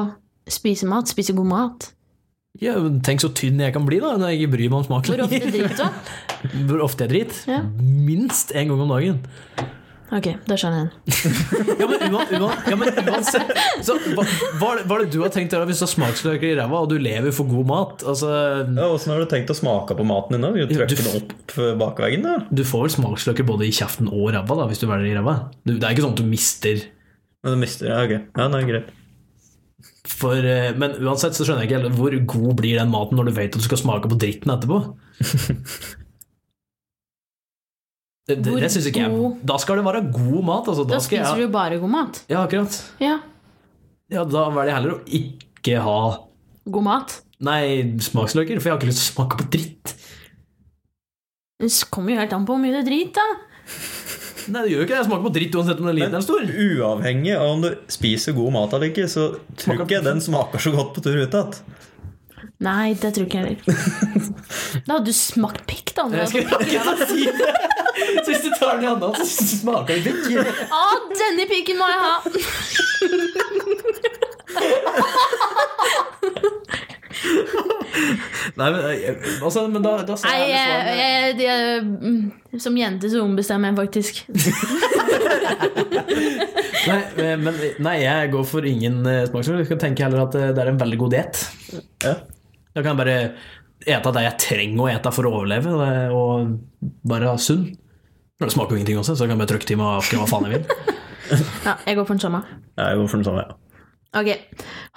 Speaker 2: spise mat. Spise god mat.
Speaker 1: Ja, men Tenk så tynn jeg kan bli, da, når jeg ikke bryr meg om smaken.
Speaker 2: Hvor ofte drikker du? da?
Speaker 1: Hvor ofte jeg driter?
Speaker 2: Ja.
Speaker 1: Minst én gang om dagen.
Speaker 2: Ok, da skjønner jeg den.
Speaker 1: Ja, men, uan, uan, ja, men uansett så, hva, hva, er det- hva er det du har tenkt å gjøre hvis du har smaksløker i ræva, og du lever for god mat? Altså,
Speaker 4: Ja, Åssen har du tenkt å smake på maten din? da? Vi
Speaker 1: du-
Speaker 4: Trøkker den opp bakveggen? da?
Speaker 1: du får vel smaksløker både i kjeften og ræva da, hvis du velger i ræva. Du- Det er ikke sånn at du mister
Speaker 4: Men du mister Ja, ok. Ja, nei, greit.
Speaker 1: for, eh, Men uansett så skjønner jeg ikke helt hvor god blir den maten når du vet at du skal smake på dritten etterpå? Det, det,
Speaker 2: Hvor
Speaker 1: det syns ikke jeg.
Speaker 2: god-
Speaker 1: Da skal det være god mat. Altså, da
Speaker 2: Da
Speaker 1: skal
Speaker 2: spiser
Speaker 1: jeg,
Speaker 2: du bare god mat.
Speaker 1: ja, akkurat.
Speaker 2: Ja,
Speaker 1: Ja, da velger jeg heller å ikke ha
Speaker 2: god mat.
Speaker 1: Nei, smaksløker, for jeg har ikke lyst til å smake på dritt.
Speaker 2: Det kommer jo helt an på hvor mye du driter, da.
Speaker 1: Nei, det gjør jo ikke det. Jeg smaker på dritt uansett om den er liten eller stor.
Speaker 4: Uavhengig av om du spiser god mat eller ikke, så tror ikke jeg den smaker så godt på tur ut igjen.
Speaker 2: Nei, det tror ikke jeg heller. Da hadde du smakt pikk, da. Om du
Speaker 1: Jeg
Speaker 2: hadde
Speaker 1: skulle ikke si det. Så hvis du tar den i hånda, så smaker det ikke.
Speaker 2: Å, denne pikken må jeg ha!
Speaker 1: Nei, men, eh, altså, men da, da ser
Speaker 2: Nei, eh,
Speaker 1: jeg det
Speaker 2: jeg,
Speaker 1: svaret.
Speaker 2: jeg, jeg, mm, som jente så ombestemmer jeg faktisk.
Speaker 1: Nei, eh, men, nei, jeg går for ingen eh, smaksløker. Jeg skal tenke heller at eh, det er en veldig god diett.
Speaker 4: Ja.
Speaker 1: Da kan jeg bare ete det jeg trenger å ete for å overleve, og- eh, og bare ha sunn. Det smaker jo ingenting også, så jeg kan bare trykke til meg akkurat hva faen jeg vil.
Speaker 2: Ja, jeg går for den samme.
Speaker 4: Jeg går for den samme, ja.
Speaker 2: Ok.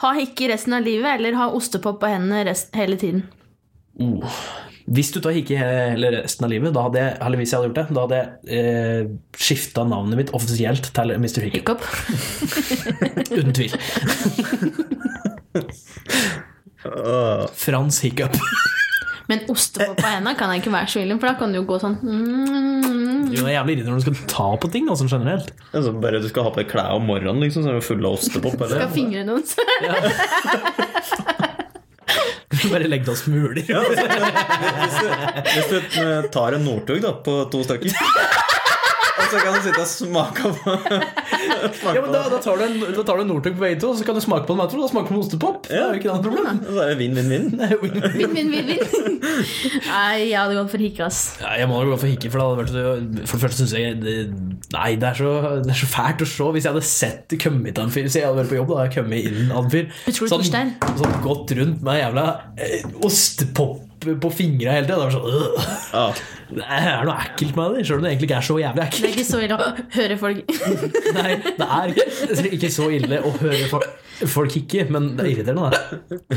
Speaker 2: Ha hikke resten av livet, eller ha ostepop på hendene rest, hele tiden?
Speaker 1: Oh. Hvis du tar hikke hele resten av livet, da hadde jeg, eller hvis jeg hadde gjort det, da hadde jeg eh, skifta navnet mitt offisielt til Mr. Hikke.
Speaker 2: Hiccup.
Speaker 1: Uten tvil.
Speaker 4: Åh,
Speaker 1: Frans Hiccup.
Speaker 2: Men ostepop på hendene kan jeg ikke være så villig, for da kan du jo gå sånn mm,
Speaker 1: Jo, det er jævlig irriterende når du skal ta på ting, altså, generelt.
Speaker 4: altså bare du skal ha på deg klær om morgenen, liksom, så er du full av ostepop. Eller?
Speaker 2: Skal fingre noen så
Speaker 1: Bare legg deg og smuler.
Speaker 4: Ja, altså, hvis, du, hvis du eh, tar en Northug da, på to stykker Og så kan du sitte og smake på
Speaker 1: Ja, men da, da tar du en, da tar du en Northug på vei to, og så kan du smake på den etterpå. Da smaker du på ostepop. Det er jo ikke noe problem.
Speaker 4: Så er det vinn, vinn, vinn.
Speaker 2: Vinn, vinn, vinn, vinn. Nei, jeg hadde gått for hikke, ass.
Speaker 1: Nei, jeg må da gå for hikke, for, da hadde det vært, for det første syns jeg det, Nei, det er, så, det er så fælt å se. Hvis jeg hadde sett det komme hit av en fyr Hvis jeg hadde vært på jobb, da hadde jeg kommet inn av en fyr.
Speaker 2: Utrolig
Speaker 1: Sånn-
Speaker 2: Torstein.
Speaker 1: sånn gått rundt med en jævla eh, ostepop på fingra hele tida. Sånn, øh.
Speaker 4: Ja.
Speaker 1: det er noe ekkelt med det, sjøl om det egentlig ikke er så jævlig ekkelt.
Speaker 2: Det er ikke så ille å høre folk
Speaker 1: Nei, det er ikke- ikke så ille å høre folk, folk hikke, men det er irriterende, da.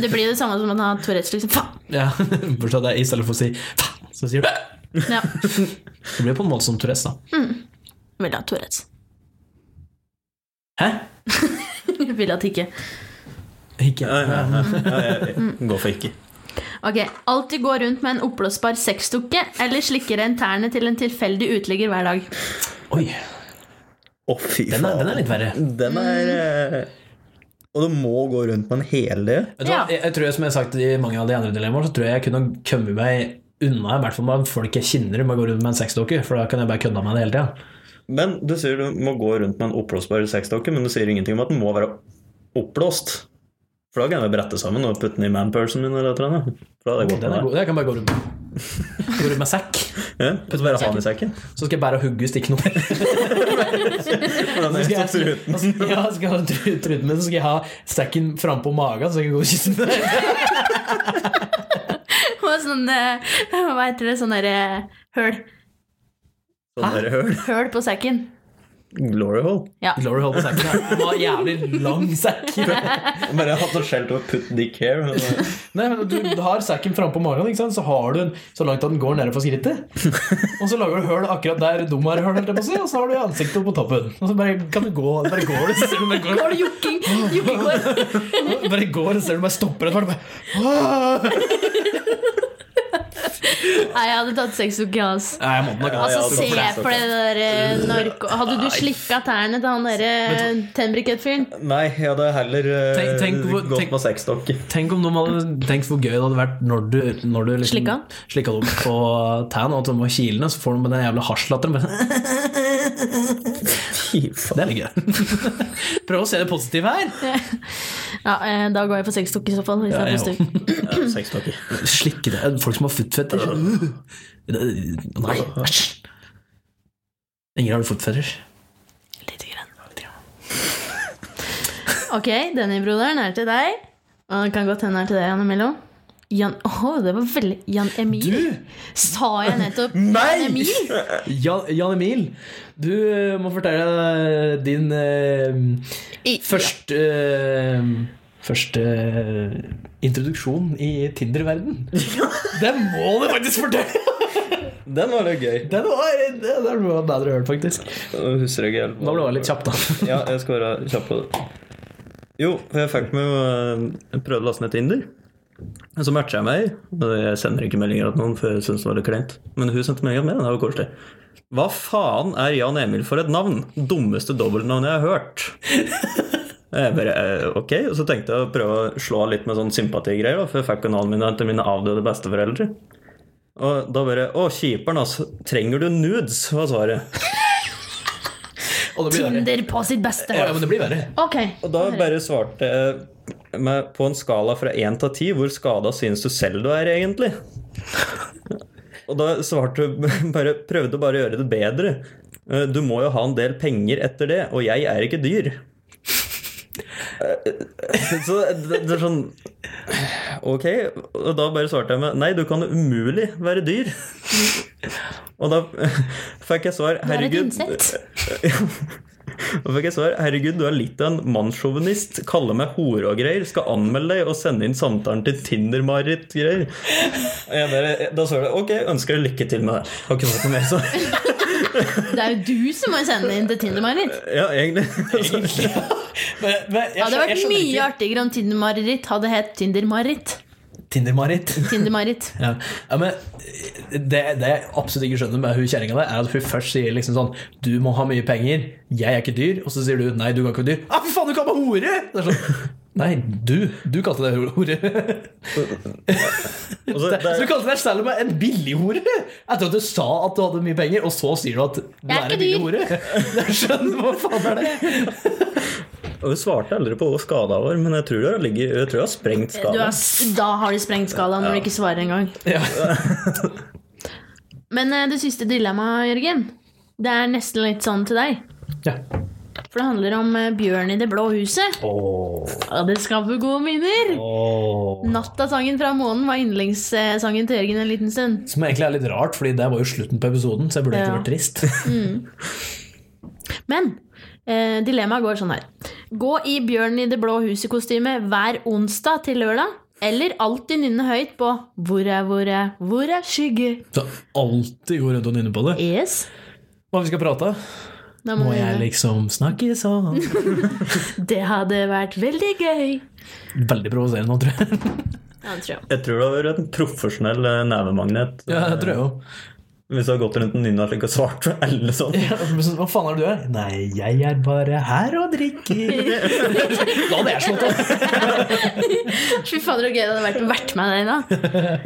Speaker 2: Det blir det samme som å ha Tourettes, liksom. Faen!
Speaker 1: Ja, Bortsett fra at jeg i stedet for å si faen, så sier du
Speaker 2: Ja.
Speaker 1: Det blir på en måte som Tourettes, da.
Speaker 2: Vil ha Tourettes.
Speaker 1: Hæ?
Speaker 2: Vil at ikke.
Speaker 1: Hikke.
Speaker 4: Ja, ja, ja, ja, ja,
Speaker 1: Mm.
Speaker 4: ja. Gå for ikke.
Speaker 2: Ok, Alltid gå rundt med en oppblåsbar sexdukke eller slikke deg interne til en tilfeldig uteligger hver dag.
Speaker 1: Oi,
Speaker 4: Å, fy
Speaker 1: den er, den er
Speaker 4: faen.
Speaker 1: litt verre.
Speaker 4: Den er
Speaker 1: Mm.
Speaker 4: eh, Og du må gå rundt med en hel del.
Speaker 1: Vet du hva?
Speaker 2: Ja.
Speaker 1: Jeg, jeg tror jeg, Som jeg har sagt i mange av de andre dilemmaene, så tror jeg jeg kunne kommet meg unna i hvert fall med folk jeg kjenner, med å gå rundt med en sexdokke, for da kan jeg bare kødde med det hele tida.
Speaker 4: Men du sier du må gå rundt med en oppblåsbar sexdokke, men du sier ingenting om at den må være oppblåst. For da kan jeg brette sammen og putte den i manpersonen min eller et eller annet. For da hadde jeg gått
Speaker 1: Den
Speaker 4: med
Speaker 1: er
Speaker 4: det.
Speaker 1: god. Jeg kan bare gå rundt med, gå rundt med sekk.
Speaker 4: Ja, Putt bare han i sekken.
Speaker 1: Så skal jeg bære og hugge stikknoter.
Speaker 4: Og den er
Speaker 1: Skal jeg-
Speaker 4: stått ruten.
Speaker 1: ja, skal jeg ha tru- truten min, så skal jeg ha sekken frampå magen, så jeg kan gå og kysse med deg.
Speaker 2: Og sånn eh, Hva heter det? Sånn derre høl.
Speaker 4: Sånn der høl.
Speaker 2: Høl på sekken.
Speaker 4: Glory hole.
Speaker 2: Ja.
Speaker 1: Glory holdt på sekken. her. Det var en jævlig lang sekk.
Speaker 4: Og Bare hatt noe skjelt over 'put dick here'. Men eh,
Speaker 1: Nei, men Du har sekken frampå magen, ikke sant? så har du den så langt at den går nede for skrittet. Og så lager du høl akkurat der dumma høl, holdt jeg på å si, og så har du ansiktet på toppen. Og så bare kan du gå, bare går du, så ser du bare går,
Speaker 2: Har du jukking? Jukkekår?
Speaker 1: bare går, og ser du bare stopper etter hvert. bare, «Åh!»
Speaker 2: Nei, jeg hadde tatt sexuke, ass.
Speaker 1: Nei, jeg måtte nok ha
Speaker 2: Altså,
Speaker 4: ja,
Speaker 2: se
Speaker 4: det var for
Speaker 2: for det der eh, narko... Hadde du slikka tærne til han eh, derre Tenbriket-fyren?
Speaker 4: Nei, jeg hadde heller eh,
Speaker 1: Tenk- tenk hvor-
Speaker 4: gått
Speaker 1: tenk-
Speaker 4: med sexdokke.
Speaker 1: Tenk om noen hadde tenkt hvor gøy det hadde vært når du, når du liksom,
Speaker 2: Slikka?
Speaker 1: slikka dem på tann og tomma kilene, så får du med den jævla hasjlatteren. bare,
Speaker 4: Fy faen.
Speaker 1: Det er litt gøy. Prøv å se det positive her.
Speaker 2: Ja, eh, da går jeg for sexdukke i så fall. Hvis det er
Speaker 1: jeg
Speaker 2: positivt.
Speaker 4: Ja, Sexdokke.
Speaker 1: Slikke det. Folk som har footfetter. Nei, æsj. Ingen har footfetter.
Speaker 2: Lite grann. Ok, denne broderen er til deg. Og det kan godt hende den er til deg, Jan Emilio. Jan, Åh, det var veldig Jan Emil? Sa jeg nettopp Jan Emil?
Speaker 1: Jan, Jan Emil, du eh, må fortelle din eh,
Speaker 2: I,
Speaker 1: første eh, Første eh, introduksjon i Tinder-verden. Det må du faktisk fortelle!
Speaker 4: Den var litt gøy.
Speaker 1: Den var, det- det var noe av det bedre hørt, faktisk.
Speaker 4: Nå Husker jeg ikke helt. hva-
Speaker 1: Da ble det litt kjapt, da.
Speaker 4: Ja, jeg skal være kjapp på det. Jo, for jeg fikk meg jo eh, prøvde å laste ned Tinder. Men så matcha jeg meg. og Jeg sender ikke meldinger til noen, for jeg syns det var litt kleint. Men hun sendte melding til meg, og det var koselig. Hva faen er Jan Emil for et navn? Dummeste dobbeltnavnet jeg har hørt. Jeg bare, eh, ok, og Så tenkte jeg å prøve å slå av litt med sånn sympatigreier, da, for jeg fikk jo navnet mitt til mine avdøde besteforeldre. Og da bare Å, kjiper'n, altså. Trenger du nudes? var svaret.
Speaker 1: Og det blir verre.
Speaker 2: Tinder på sitt beste.
Speaker 1: Ja, men det blir verre.
Speaker 2: Ok.
Speaker 4: Og da bare svarte jeg med, på en skala fra 1 til 10 hvor skada synes du selv du er, egentlig? Og da svarte hun bare Prøvde bare å gjøre det bedre. Eh, Du må jo ha en del penger etter det, og jeg er ikke dyr. Eh, Så det, det er sånn Ok. Og da bare svarte jeg med Nei, du kan umulig være dyr. Og da fikk jeg svar
Speaker 2: Du er et
Speaker 4: Herregud.
Speaker 2: innsett.
Speaker 4: Da fikk jeg svar. Herregud, du er litt av en mannssjåvinist. Kaller meg hore og greier. Skal anmelde deg og sende inn samtalen til Tinder-Marit-greier. Og jeg bare- Da står det ok, ønsker deg lykke til med det. Har ikke fått noe mer svar.
Speaker 2: Det er jo du som må sende inn til Tinder-Marit.
Speaker 4: Ja, egentlig.
Speaker 1: Men, men,
Speaker 2: Det
Speaker 1: jeg,
Speaker 2: hadde
Speaker 1: skjønner- jeg
Speaker 2: vært
Speaker 1: skjønner
Speaker 2: mye
Speaker 1: ikke-
Speaker 2: artigere om Tinder-Marit hadde hett Tinder-Marit.
Speaker 1: Tinder-Marit.
Speaker 2: Tinder-Marit.
Speaker 1: Ja. ja, men eh, det, det jeg absolutt ikke skjønner med hun kjerringa der, er at hun først sier liksom sånn Du må ha mye penger, jeg er ikke dyr. Og så sier du nei, du kan ikke være dyr. Å, for faen, du kan være hore! Det er sånn Nei, du. Du kalte deg hore.
Speaker 4: Og så,
Speaker 1: Så du
Speaker 4: det,
Speaker 1: kalte deg selv om en billighore etter at du sa at du hadde mye penger, og så sier du at du er
Speaker 2: Jeg er ikke
Speaker 1: en billighore. Jeg skjønner hva faen er det?
Speaker 4: og hun svarte aldri på hvor skada var, men jeg tror hun har ligget- jeg tror hun har
Speaker 2: Du
Speaker 4: sprengt skada.
Speaker 2: har, da har du sprengt skalaen når du ikke svarer engang.
Speaker 1: Ja.
Speaker 2: Men eh, det siste dilemmaet, Jørgen, det er nesten litt sånn til deg.
Speaker 1: Ja.
Speaker 2: For det handler om eh, bjørn i det blå huset. Og det skaper gode minner! Nattasangen fra månen var yndlingssangen til Jørgen en liten stund.
Speaker 1: Som egentlig er litt rart, Fordi det var jo slutten på episoden, så jeg burde
Speaker 2: Ja.
Speaker 1: ikke vært trist.
Speaker 2: Men eh, dilemmaet går sånn her. Gå i Bjørn i det blå huset-kostyme hver onsdag til lørdag. Eller alltid nynne høyt på 'Hvor er, hvor er, hvor er skygge'?
Speaker 1: Så alltid går rundt og nynner på det.
Speaker 2: Yes.
Speaker 1: Hva vi skal prate om?
Speaker 2: Da
Speaker 1: Må
Speaker 2: du
Speaker 1: jeg
Speaker 2: nynne.
Speaker 1: liksom snakke sånn?
Speaker 2: Det hadde vært veldig gøy.
Speaker 1: Veldig provoserende, tror jeg.
Speaker 2: Ja, det tror jeg.
Speaker 4: Jeg tror det har vært en profesjonell eh, nevemagnet. eh,
Speaker 1: Ja, det tror jeg jo.
Speaker 4: Hvis du har gått rundt en nynna slik og svart for alle sånn.
Speaker 1: Ja, men sånn, Hva faen er det du er? Nei, jeg er bare her og drikker. Da hadde jeg slått av.
Speaker 2: Fy fader, så gøy det hadde vært å vært med deg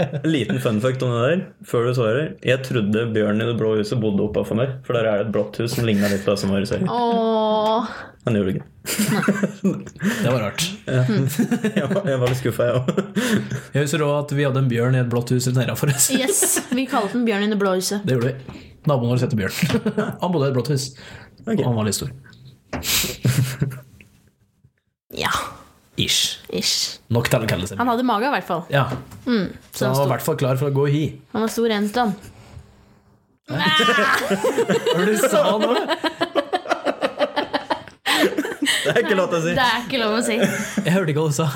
Speaker 2: da.
Speaker 4: Liten fun fact om det der, før du svarer. Jeg trodde bjørnen i det blå huset bodde oppafor meg, for der er det et blått hus som ligner litt på det som var i serien.
Speaker 2: Åh.
Speaker 4: Men det gjorde det ikke.
Speaker 1: Det var rart.
Speaker 4: Jeg var, jeg var litt skuffa, jeg òg.
Speaker 1: Jeg husker også at vi hadde en bjørn i et blått hus nedafor oss.
Speaker 2: Yes, vi kalte den Bjørn i det blå huset.
Speaker 1: Det gjorde vi. Naboen vår heter Bjørn. Han bodde i et blått hus.
Speaker 4: Ok.
Speaker 1: Og han var litt stor.
Speaker 2: Ja,
Speaker 1: Ish.
Speaker 2: ish.
Speaker 1: Nok til å kalle seg
Speaker 2: Han hadde mage, i hvert fall.
Speaker 1: Ja,
Speaker 2: Så
Speaker 1: så han var i
Speaker 2: han,
Speaker 1: hvert fall klar for å gå hi.
Speaker 2: sto, han var stor enstand.
Speaker 1: Hva du sa nå?
Speaker 4: Det er ikke lov til å si.
Speaker 2: Det er ikke lov å si.
Speaker 1: Jeg hørte ikke hva du sa.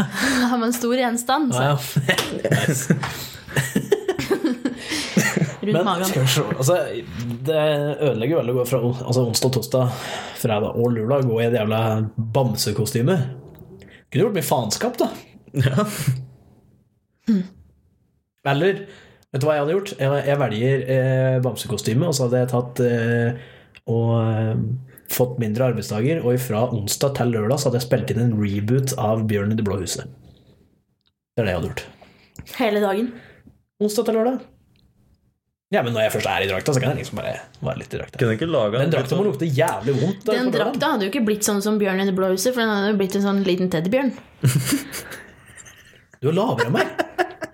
Speaker 2: Han var en stor gjenstand så,
Speaker 1: Ah, ja.
Speaker 2: rundt
Speaker 1: Men
Speaker 2: magen.
Speaker 1: skal vi se. Altså, det ødelegger jo veldig å gå fra altså, onsdag, torsdag, fredag og lørdag gå i et jævla bamsekostyme. Kunne gjort mye faenskap, da.
Speaker 4: Ja.
Speaker 1: Eller vet du hva jeg hadde gjort? Jeg, jeg velger eh, bamsekostyme, og så hadde jeg tatt eh, og eh, fått mindre arbeidsdager, og fra onsdag til lørdag så hadde jeg spilt inn en reboot av Bjørn i det blå huset. Det er det jeg hadde gjort.
Speaker 2: Hele dagen.
Speaker 1: Onsdag til lørdag. Ja, men når jeg først er i drakta, så kan jeg liksom bare være litt i drakta.
Speaker 4: Kunne ikke sånn- laga
Speaker 1: Den drakta må lukte jævlig vondt. da,
Speaker 2: Den
Speaker 1: på lørdagen.
Speaker 2: drakta hadde jo ikke blitt sånn som Bjørn i det blå huset, for den hadde jo blitt en sånn liten teddybjørn.
Speaker 1: sånn. Du er lavere enn meg.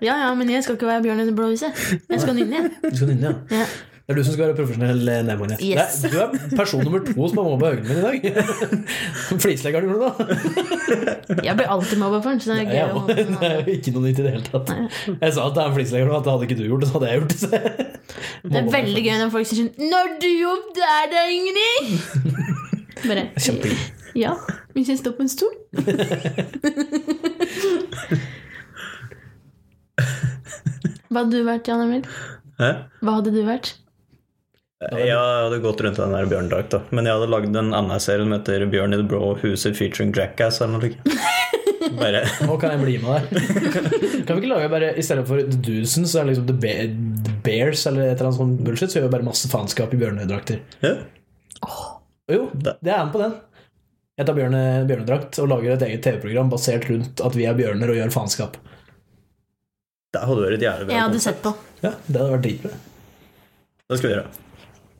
Speaker 2: Ja, ja, men jeg skal ikke være Bjørn i det blå huset. Jeg skal nynne igjen.
Speaker 1: Du skal nynne, ja.
Speaker 2: Ja.
Speaker 1: Det er du som skal være profesjonell eh, nevmanet.
Speaker 2: Yes.
Speaker 1: Nei, Du er person nummer to som har mobba øynene mine i dag. Flisleggeren gjorde det, da.
Speaker 2: Jeg blir alltid mobba for den, så det er
Speaker 1: Ja,
Speaker 2: gøy å
Speaker 1: det
Speaker 2: holde den.
Speaker 1: er jo ikke noe nytt i det hele tatt. Jeg sa at det er en flislegger nå, at det hadde ikke du gjort, det hadde jeg gjort.
Speaker 2: Det er veldig gøy når folk sier sånn Når du jobb der da, Ingrid? Bare
Speaker 1: Kjempegøy.
Speaker 2: Ja. Hvis jeg står på en stol? Hva hadde du vært, Jan Emil?
Speaker 4: Hæ?
Speaker 2: Hva hadde du vært?
Speaker 4: Jeg hadde gått rundt i den der bjørndrakta. Men jeg hadde lagd en annen serie som heter 'Bjørn i det blå huset featuring Jackass' eller noe. slikt. Bare
Speaker 1: Nå kan jeg bli med deg. Kan vi ikke lage bare, i stedet for The Doosen, så er det liksom The, Be the Bears eller et eller annet sånt bullshit, så gjør vi bare masse faenskap i bjørnedrakter.
Speaker 4: ja.
Speaker 1: Jo, det er jeg med på den. Jeg tar bjørne, bjørnedrakt og lager et eget TV-program basert rundt at vi er bjørner og gjør faenskap.
Speaker 4: Det hadde vært et jævlig bra.
Speaker 2: Jeg hadde
Speaker 4: konsept.
Speaker 2: sett på.
Speaker 1: Ja, det hadde vært dritbra.
Speaker 4: Det skal vi gjøre.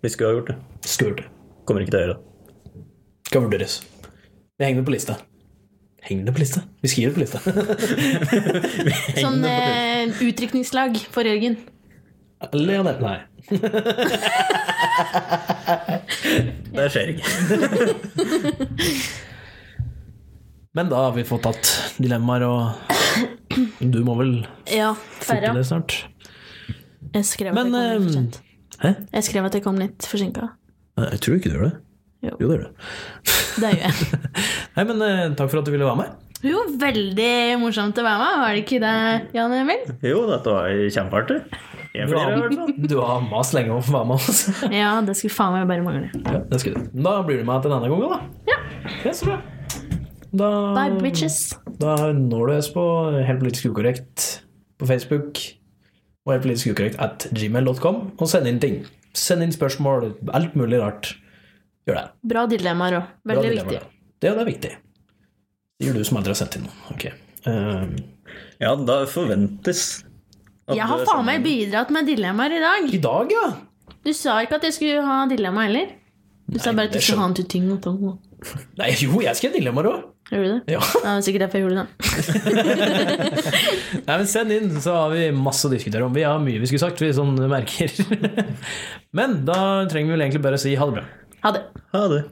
Speaker 4: Vi skulle ha gjort det.
Speaker 1: Skurt.
Speaker 4: Kommer ikke til å gjøre det.
Speaker 1: Skal vurderes. Vi henger det på lista. Henger det på lista? Vi skriver det på lista.
Speaker 2: Sånn eh, utrykningslag for Jørgen.
Speaker 1: Eller ja, det- nei.
Speaker 4: Det skjer ikke.
Speaker 1: Men da har vi fått tatt dilemmaer, og du må vel
Speaker 2: Ja,
Speaker 1: til
Speaker 2: Ferra.
Speaker 1: det snart.
Speaker 2: Jeg skrev at jeg
Speaker 1: Men
Speaker 2: kom litt for
Speaker 1: ehm,
Speaker 2: sent.
Speaker 1: Hæ?
Speaker 2: Jeg skrev at jeg kom litt forsinka.
Speaker 1: Nei, Jeg tror ikke du gjør det.
Speaker 2: Jo.
Speaker 1: Jo, det gjør du.
Speaker 2: Det gjør jeg.
Speaker 1: Nei, men eh, takk for at du ville være med.
Speaker 2: Jo, veldig morsomt å være med. Var det ikke det, Jan Emil?
Speaker 4: Jo, dette var kjempeartig. Jeg
Speaker 1: Du
Speaker 4: flirer i
Speaker 1: har,
Speaker 4: hvert fall.
Speaker 1: du har mast lenge om å få være med altså. oss.
Speaker 2: Ja, det skulle faen meg bare mangle.
Speaker 1: Ja, det skal du. Da blir du med til en annen gang, da.
Speaker 2: Ja.
Speaker 1: Ja, så bra. Da,
Speaker 2: Bye, bitches.
Speaker 1: da når du oss på Helt politisk ukorrekt på Facebook og helt politisk ukorrekt at gmail.com, og send inn ting. Send inn spørsmål, alt mulig rart. Gjør det.
Speaker 2: Bra dilemmaer òg. Veldig
Speaker 1: Bra
Speaker 2: viktig.
Speaker 1: dilemma, da. Det, det er viktig. Det gjør du som aldri har sendt inn noen. Ok. Eh,
Speaker 4: Ja, da forventes at
Speaker 2: Jeg har
Speaker 4: det er
Speaker 2: faen
Speaker 4: sånn-
Speaker 2: meg bidratt med dilemmaer i dag.
Speaker 1: I dag, ja!
Speaker 2: Du sa ikke at jeg skulle ha dilemma heller. Du sa bare at du
Speaker 1: det
Speaker 2: skulle ha en til ting og tang.
Speaker 1: Nei, jo, jeg skal ha dilemmaer òg!
Speaker 2: Gjorde du det?
Speaker 1: Ja.
Speaker 2: Ja, det er sikkert derfor jeg gjorde det.
Speaker 1: Nei, men send inn, så har vi masse å diskutere om. Vi har mye vi skulle sagt, vi sånn merker. men da trenger vi vel egentlig bare å si ha det bra.
Speaker 2: Ha det.
Speaker 4: Ha det.